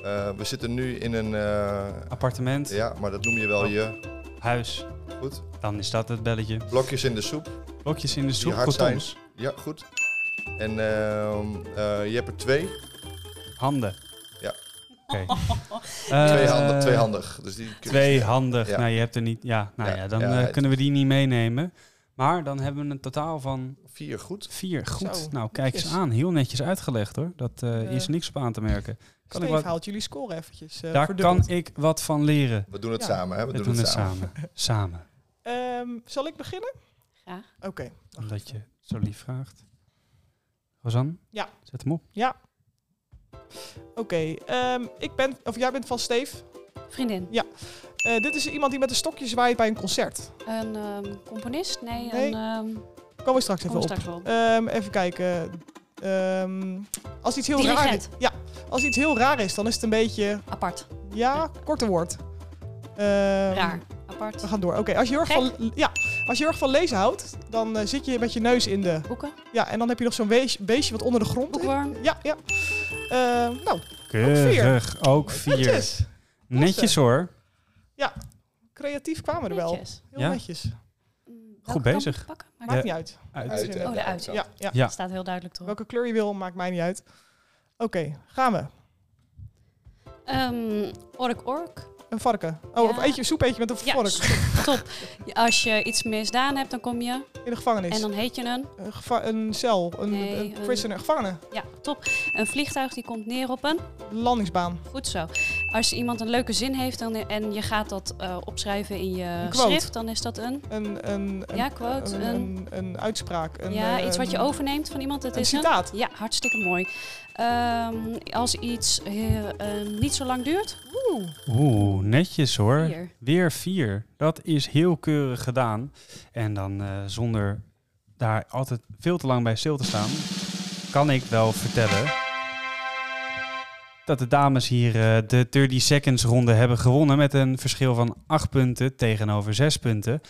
[SPEAKER 3] Eh, we zitten nu in een... eh,
[SPEAKER 1] appartement,
[SPEAKER 3] ja, maar dat noem je wel
[SPEAKER 1] Oh.
[SPEAKER 3] je
[SPEAKER 1] huis.
[SPEAKER 3] Goed.
[SPEAKER 1] Dan is dat het belletje.
[SPEAKER 3] blokjes in de soep.
[SPEAKER 1] Blokjes in de soep,
[SPEAKER 3] hard zijn.
[SPEAKER 1] cotons,
[SPEAKER 3] Ja, goed. En ehm, eh, je hebt er twee.
[SPEAKER 1] handen.
[SPEAKER 3] Ja.
[SPEAKER 2] [laughs]
[SPEAKER 1] Oké.
[SPEAKER 3] twee,
[SPEAKER 1] Eh,
[SPEAKER 3] handen, twee handig. Dus die kun je-
[SPEAKER 1] Tweehandig.
[SPEAKER 3] Ja.
[SPEAKER 1] Nou, je hebt er niet. Ja, nou ja,
[SPEAKER 3] Ja,
[SPEAKER 1] dan
[SPEAKER 3] ja,
[SPEAKER 1] eh,
[SPEAKER 3] het-
[SPEAKER 1] kunnen we die niet meenemen. Maar dan hebben we een totaal van
[SPEAKER 3] Vier, goed.
[SPEAKER 1] vier. Goed.
[SPEAKER 2] Zo,
[SPEAKER 1] nou, kijk eens
[SPEAKER 2] netjes.
[SPEAKER 1] aan. Heel netjes uitgelegd hoor. Dat eh,
[SPEAKER 2] Eh.
[SPEAKER 1] is niks op aan te merken. Kan
[SPEAKER 2] Kan
[SPEAKER 1] ik
[SPEAKER 2] Steve,
[SPEAKER 1] wat-
[SPEAKER 2] haalt jullie score eventjes eh,
[SPEAKER 1] Daar
[SPEAKER 2] verdubbeld.
[SPEAKER 1] kan ik wat van leren.
[SPEAKER 3] We doen het
[SPEAKER 2] Ja.
[SPEAKER 3] samen, hè?
[SPEAKER 1] We doen het samen. Samen.
[SPEAKER 2] Ehm, zal ik beginnen?
[SPEAKER 4] Graag.
[SPEAKER 2] Oké. wacht
[SPEAKER 1] Omdat
[SPEAKER 2] even.
[SPEAKER 1] je zo lief vraagt. Rosanne?
[SPEAKER 2] Ja.
[SPEAKER 1] Zet hem op.
[SPEAKER 2] Oké, ehm, ik ben, of jij bent van Steve.
[SPEAKER 4] Vriendin.
[SPEAKER 2] Eh, dit is iemand die met een stokje zwaait bij een concert.
[SPEAKER 4] Een ehm, componist? Nee,
[SPEAKER 2] Nee.
[SPEAKER 4] een... ehm
[SPEAKER 2] Komen we straks even
[SPEAKER 4] kom
[SPEAKER 2] op.
[SPEAKER 4] straks wel. op.
[SPEAKER 2] Ehm, even kijken. Ehm, als iets heel raar is.
[SPEAKER 4] Dirigent.
[SPEAKER 2] Ja, als iets heel raar is, dan is het een beetje.
[SPEAKER 4] Apart.
[SPEAKER 2] Ja, korte woord. Ehm,
[SPEAKER 4] Raar. Apart.
[SPEAKER 2] We gaan door. Oké, als je heel erg
[SPEAKER 4] Gek.
[SPEAKER 2] van. Ja, als je heel erg van lezen houdt, dan eh, zit je met je neus in de.
[SPEAKER 4] Boeken.
[SPEAKER 2] Ja, en dan heb je nog zo'n wees- beestje wat onder de grond is.
[SPEAKER 4] Boekworm.
[SPEAKER 2] Ja, ja. Ehm, nou,
[SPEAKER 1] Keurig. Ook vier.
[SPEAKER 2] netjes.
[SPEAKER 1] Netjes hoor.
[SPEAKER 2] Creatief kwamen we er wel.
[SPEAKER 4] Netjes.
[SPEAKER 2] Heel
[SPEAKER 1] Ja.
[SPEAKER 2] netjes.
[SPEAKER 4] Mm,
[SPEAKER 1] Goed
[SPEAKER 4] welke
[SPEAKER 1] bezig.
[SPEAKER 4] kant moet ik Pakken?
[SPEAKER 2] Maakt
[SPEAKER 4] Maar
[SPEAKER 1] Ja.
[SPEAKER 2] niet uit.
[SPEAKER 1] Uit.
[SPEAKER 3] Uit, hè?
[SPEAKER 4] Oh, de uit.
[SPEAKER 3] Ja.
[SPEAKER 2] Ja, ja.
[SPEAKER 1] Ja.
[SPEAKER 4] staat heel duidelijk erop.
[SPEAKER 2] Welke kleur je wil, maakt mij niet uit. Oké, gaan we.
[SPEAKER 4] Ehm, ork, ork.
[SPEAKER 2] Een varken. Oh,
[SPEAKER 4] Ja.
[SPEAKER 2] of eet je soep eet je met een
[SPEAKER 4] Ja,
[SPEAKER 2] vork.
[SPEAKER 4] stop, [laughs] top. Als je iets misdaan hebt, dan kom je
[SPEAKER 2] In de gevangenis.
[SPEAKER 4] en dan heet je een...
[SPEAKER 2] Een, geva- een cel, een,
[SPEAKER 4] Nee,
[SPEAKER 2] een
[SPEAKER 4] een-
[SPEAKER 2] prisoner, een gevangene.
[SPEAKER 4] Ja, top. Een vliegtuig die komt neer op een...
[SPEAKER 2] Landingsbaan.
[SPEAKER 4] Goed zo. Als iemand een leuke zin heeft dan, en je gaat dat eh, opschrijven in je
[SPEAKER 2] Een quote.
[SPEAKER 4] schrift, dan is dat een...
[SPEAKER 2] Een, een, een,
[SPEAKER 4] Ja, quote,
[SPEAKER 2] Een,
[SPEAKER 4] een-
[SPEAKER 2] een, een uitspraak. Een,
[SPEAKER 4] ja,
[SPEAKER 2] eh,
[SPEAKER 4] iets wat je
[SPEAKER 2] een-
[SPEAKER 4] overneemt van iemand. Het
[SPEAKER 2] Een
[SPEAKER 4] is
[SPEAKER 2] citaat.
[SPEAKER 4] een... Ja, hartstikke mooi. Ehm, als iets eh, eh, niet zo lang duurt...
[SPEAKER 2] Oeh,
[SPEAKER 1] Oeh, netjes hoor.
[SPEAKER 4] Hier.
[SPEAKER 1] Weer vier. Dat is heel keurig gedaan. En dan eh, zonder daar altijd veel te lang bij stil te staan, kan ik wel vertellen dat de dames hier eh, de 30 seconds ronde hebben gewonnen met een verschil van 8 punten tegenover 6 punten.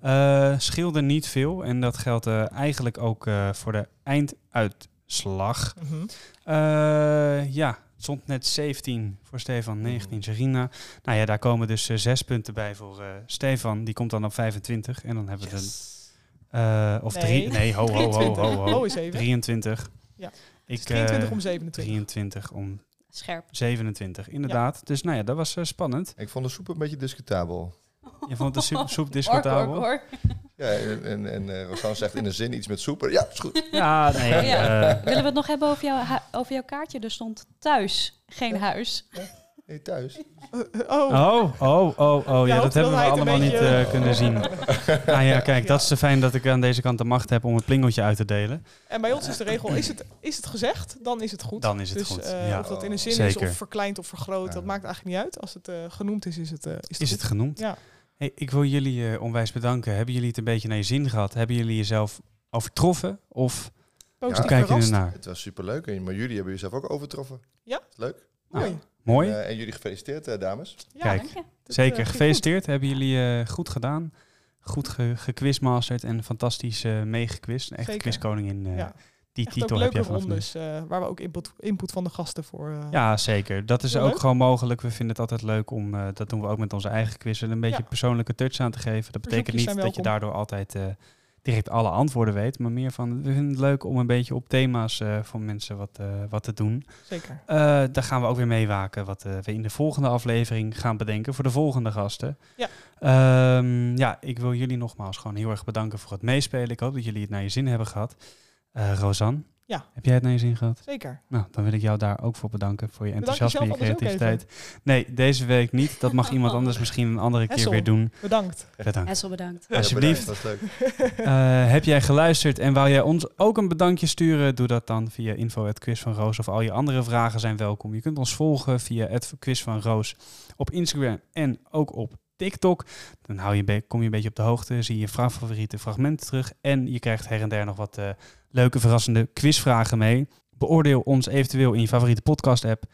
[SPEAKER 1] Eh scheelde niet veel en dat geldt eh, eigenlijk ook eh, voor de einduitslag.
[SPEAKER 2] Mhm.
[SPEAKER 1] Eh, ja, het stond net 17 voor Stefan, 19 Serena. Nou ja, daar komen dus eh, zes punten bij voor eh, Stefan. Die komt dan op 25. En dan hebben we een... eh, of
[SPEAKER 2] Nee.
[SPEAKER 1] drie... Nee, ho,
[SPEAKER 2] [laughs]
[SPEAKER 1] ho, ho, ho, ho.
[SPEAKER 2] Oh, is even.
[SPEAKER 1] 23.
[SPEAKER 2] Ja.
[SPEAKER 1] Ik,
[SPEAKER 2] Het is 23
[SPEAKER 1] eh,
[SPEAKER 2] om 27.
[SPEAKER 1] 23 om
[SPEAKER 4] Scherp.
[SPEAKER 1] 27, inderdaad. Dus nou ja, dat was eh, spannend.
[SPEAKER 3] Ik vond de soep een beetje discutabel.
[SPEAKER 1] Je vond
[SPEAKER 2] [laughs]
[SPEAKER 1] de soep, soep
[SPEAKER 4] Ork,
[SPEAKER 1] discutabel?
[SPEAKER 4] ork, ork.
[SPEAKER 3] Ja, en, en, en eh, Rosanne zegt in een zin iets met soep. Ja, is goed.
[SPEAKER 1] Ja, nee.
[SPEAKER 4] Ja.
[SPEAKER 1] eh,
[SPEAKER 4] Willen we het nog hebben over, jouw hu- over jouw kaartje? Er stond thuis, geen huis.
[SPEAKER 3] Hey, thuis.
[SPEAKER 2] Eh, eh, [laughs] oh,
[SPEAKER 1] Oh, oh, oh, oh. Ja,
[SPEAKER 2] Ja,
[SPEAKER 1] dat hebben we
[SPEAKER 2] hoeveelheid een
[SPEAKER 1] allemaal niet
[SPEAKER 2] beetje- Oh.
[SPEAKER 1] eh, kunnen
[SPEAKER 2] [laughs]
[SPEAKER 1] zien. Nou ja, kijk, dat is te fijn dat ik aan deze kant de macht heb om het plingeltje uit te delen.
[SPEAKER 2] en bij ons is de regel, is het, is het gezegd, dan is het goed.
[SPEAKER 1] Dan is het
[SPEAKER 2] dus,
[SPEAKER 1] goed,
[SPEAKER 2] eh,
[SPEAKER 1] ja.
[SPEAKER 2] Of dat in een zin
[SPEAKER 1] Zeker.
[SPEAKER 2] is, of verkleind of vergroot,
[SPEAKER 3] Ja.
[SPEAKER 2] dat maakt eigenlijk niet uit. Als het eh, genoemd is, is het, eh, is
[SPEAKER 1] Is
[SPEAKER 2] het
[SPEAKER 1] het
[SPEAKER 2] goed.
[SPEAKER 1] genoemd?
[SPEAKER 2] Ja.
[SPEAKER 1] Hey, ik wil jullie eh, onwijs bedanken. Hebben jullie het een beetje naar je zin gehad? Hebben jullie jezelf overtroffen? Of
[SPEAKER 2] Positief
[SPEAKER 1] hoe kijken jullie
[SPEAKER 2] verrast.
[SPEAKER 1] ernaar?
[SPEAKER 3] Het was superleuk. En- Maar jullie hebben jezelf ook overtroffen.
[SPEAKER 2] Ja.
[SPEAKER 3] Is Leuk.
[SPEAKER 2] Mooi.
[SPEAKER 1] Mooi.
[SPEAKER 3] Eh, en jullie gefeliciteerd, eh, dames.
[SPEAKER 2] Ja,
[SPEAKER 1] Kijk,
[SPEAKER 4] Dank je.
[SPEAKER 2] dit, eh,
[SPEAKER 1] Zeker.
[SPEAKER 2] ging
[SPEAKER 1] Gefeliciteerd. Hebben jullie eh, goed gedaan. Goed ge gequizmasterd en fantastisch eh meegequist. Een echte
[SPEAKER 2] Zeker.
[SPEAKER 1] quizkoningin. eh,
[SPEAKER 2] Ja.
[SPEAKER 1] Die
[SPEAKER 2] Echt
[SPEAKER 1] titel
[SPEAKER 2] ook
[SPEAKER 1] heb
[SPEAKER 2] leuke
[SPEAKER 1] je vanaf nu.
[SPEAKER 2] rondes, eh, waar we ook input, input van de gasten voor... eh,
[SPEAKER 1] Ja, zeker. Dat is
[SPEAKER 2] Heel
[SPEAKER 1] ook
[SPEAKER 2] leuk.
[SPEAKER 1] gewoon mogelijk. We vinden het altijd leuk om, eh, dat doen we ook met onze eigen quizzen, een beetje
[SPEAKER 2] Ja.
[SPEAKER 1] persoonlijke touch aan te geven. Dat betekent
[SPEAKER 2] Verzoekjes
[SPEAKER 1] niet
[SPEAKER 2] zijn
[SPEAKER 1] dat je daardoor altijd eh, direct alle antwoorden weet, maar meer van, we vinden het leuk om een beetje op thema's eh, voor mensen wat, eh, wat te doen.
[SPEAKER 2] Zeker.
[SPEAKER 1] Eh, daar gaan we ook weer meewaken wat eh, we in de volgende aflevering gaan bedenken voor de volgende gasten.
[SPEAKER 2] Ja.
[SPEAKER 1] Ehm, ja, ik wil jullie nogmaals gewoon heel erg bedanken voor het meespelen. Ik hoop dat jullie het naar je zin hebben gehad. Eh Rosanne,
[SPEAKER 2] Ja.
[SPEAKER 1] heb jij het naar je zin gehad?
[SPEAKER 2] Zeker.
[SPEAKER 1] Nou, dan wil ik jou daar ook voor bedanken voor je
[SPEAKER 2] Bedank
[SPEAKER 1] enthousiasme en je
[SPEAKER 2] jezelf anders ook
[SPEAKER 1] creativiteit. Nee, deze week niet. Dat
[SPEAKER 2] [laughs]
[SPEAKER 1] mag iemand anders misschien een andere keer
[SPEAKER 2] Hessel.
[SPEAKER 1] weer doen. [laughs]
[SPEAKER 2] Bedankt.
[SPEAKER 1] Bedankt.
[SPEAKER 4] Hessel, bedankt.
[SPEAKER 3] Ja,
[SPEAKER 1] Alsjeblieft.
[SPEAKER 3] bedankt. Dat is leuk.
[SPEAKER 1] Eh, heb jij geluisterd en wou jij ons ook een bedankje sturen? Doe dat dan via info quiz van Roos of al je andere vragen zijn welkom. Je kunt ons volgen via quiz van Roos op Instagram en ook op TikTok. Dan hou je, een be- kom je een beetje op de hoogte, zie je fra- favoriete fragmenten terug en je krijgt her en der nog wat eh, leuke verrassende quizvragen mee. Beoordeel ons eventueel in je favoriete podcast app.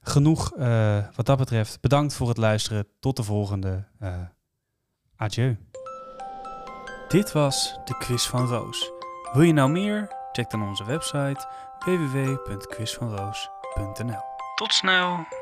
[SPEAKER 1] Genoeg eh, wat dat betreft. Bedankt voor het luisteren. Tot de volgende. eh, adieu. Dit was de Quiz van Roos. Wil je nou meer? Check dan onze website www.quizvanroos.nl. Tot snel!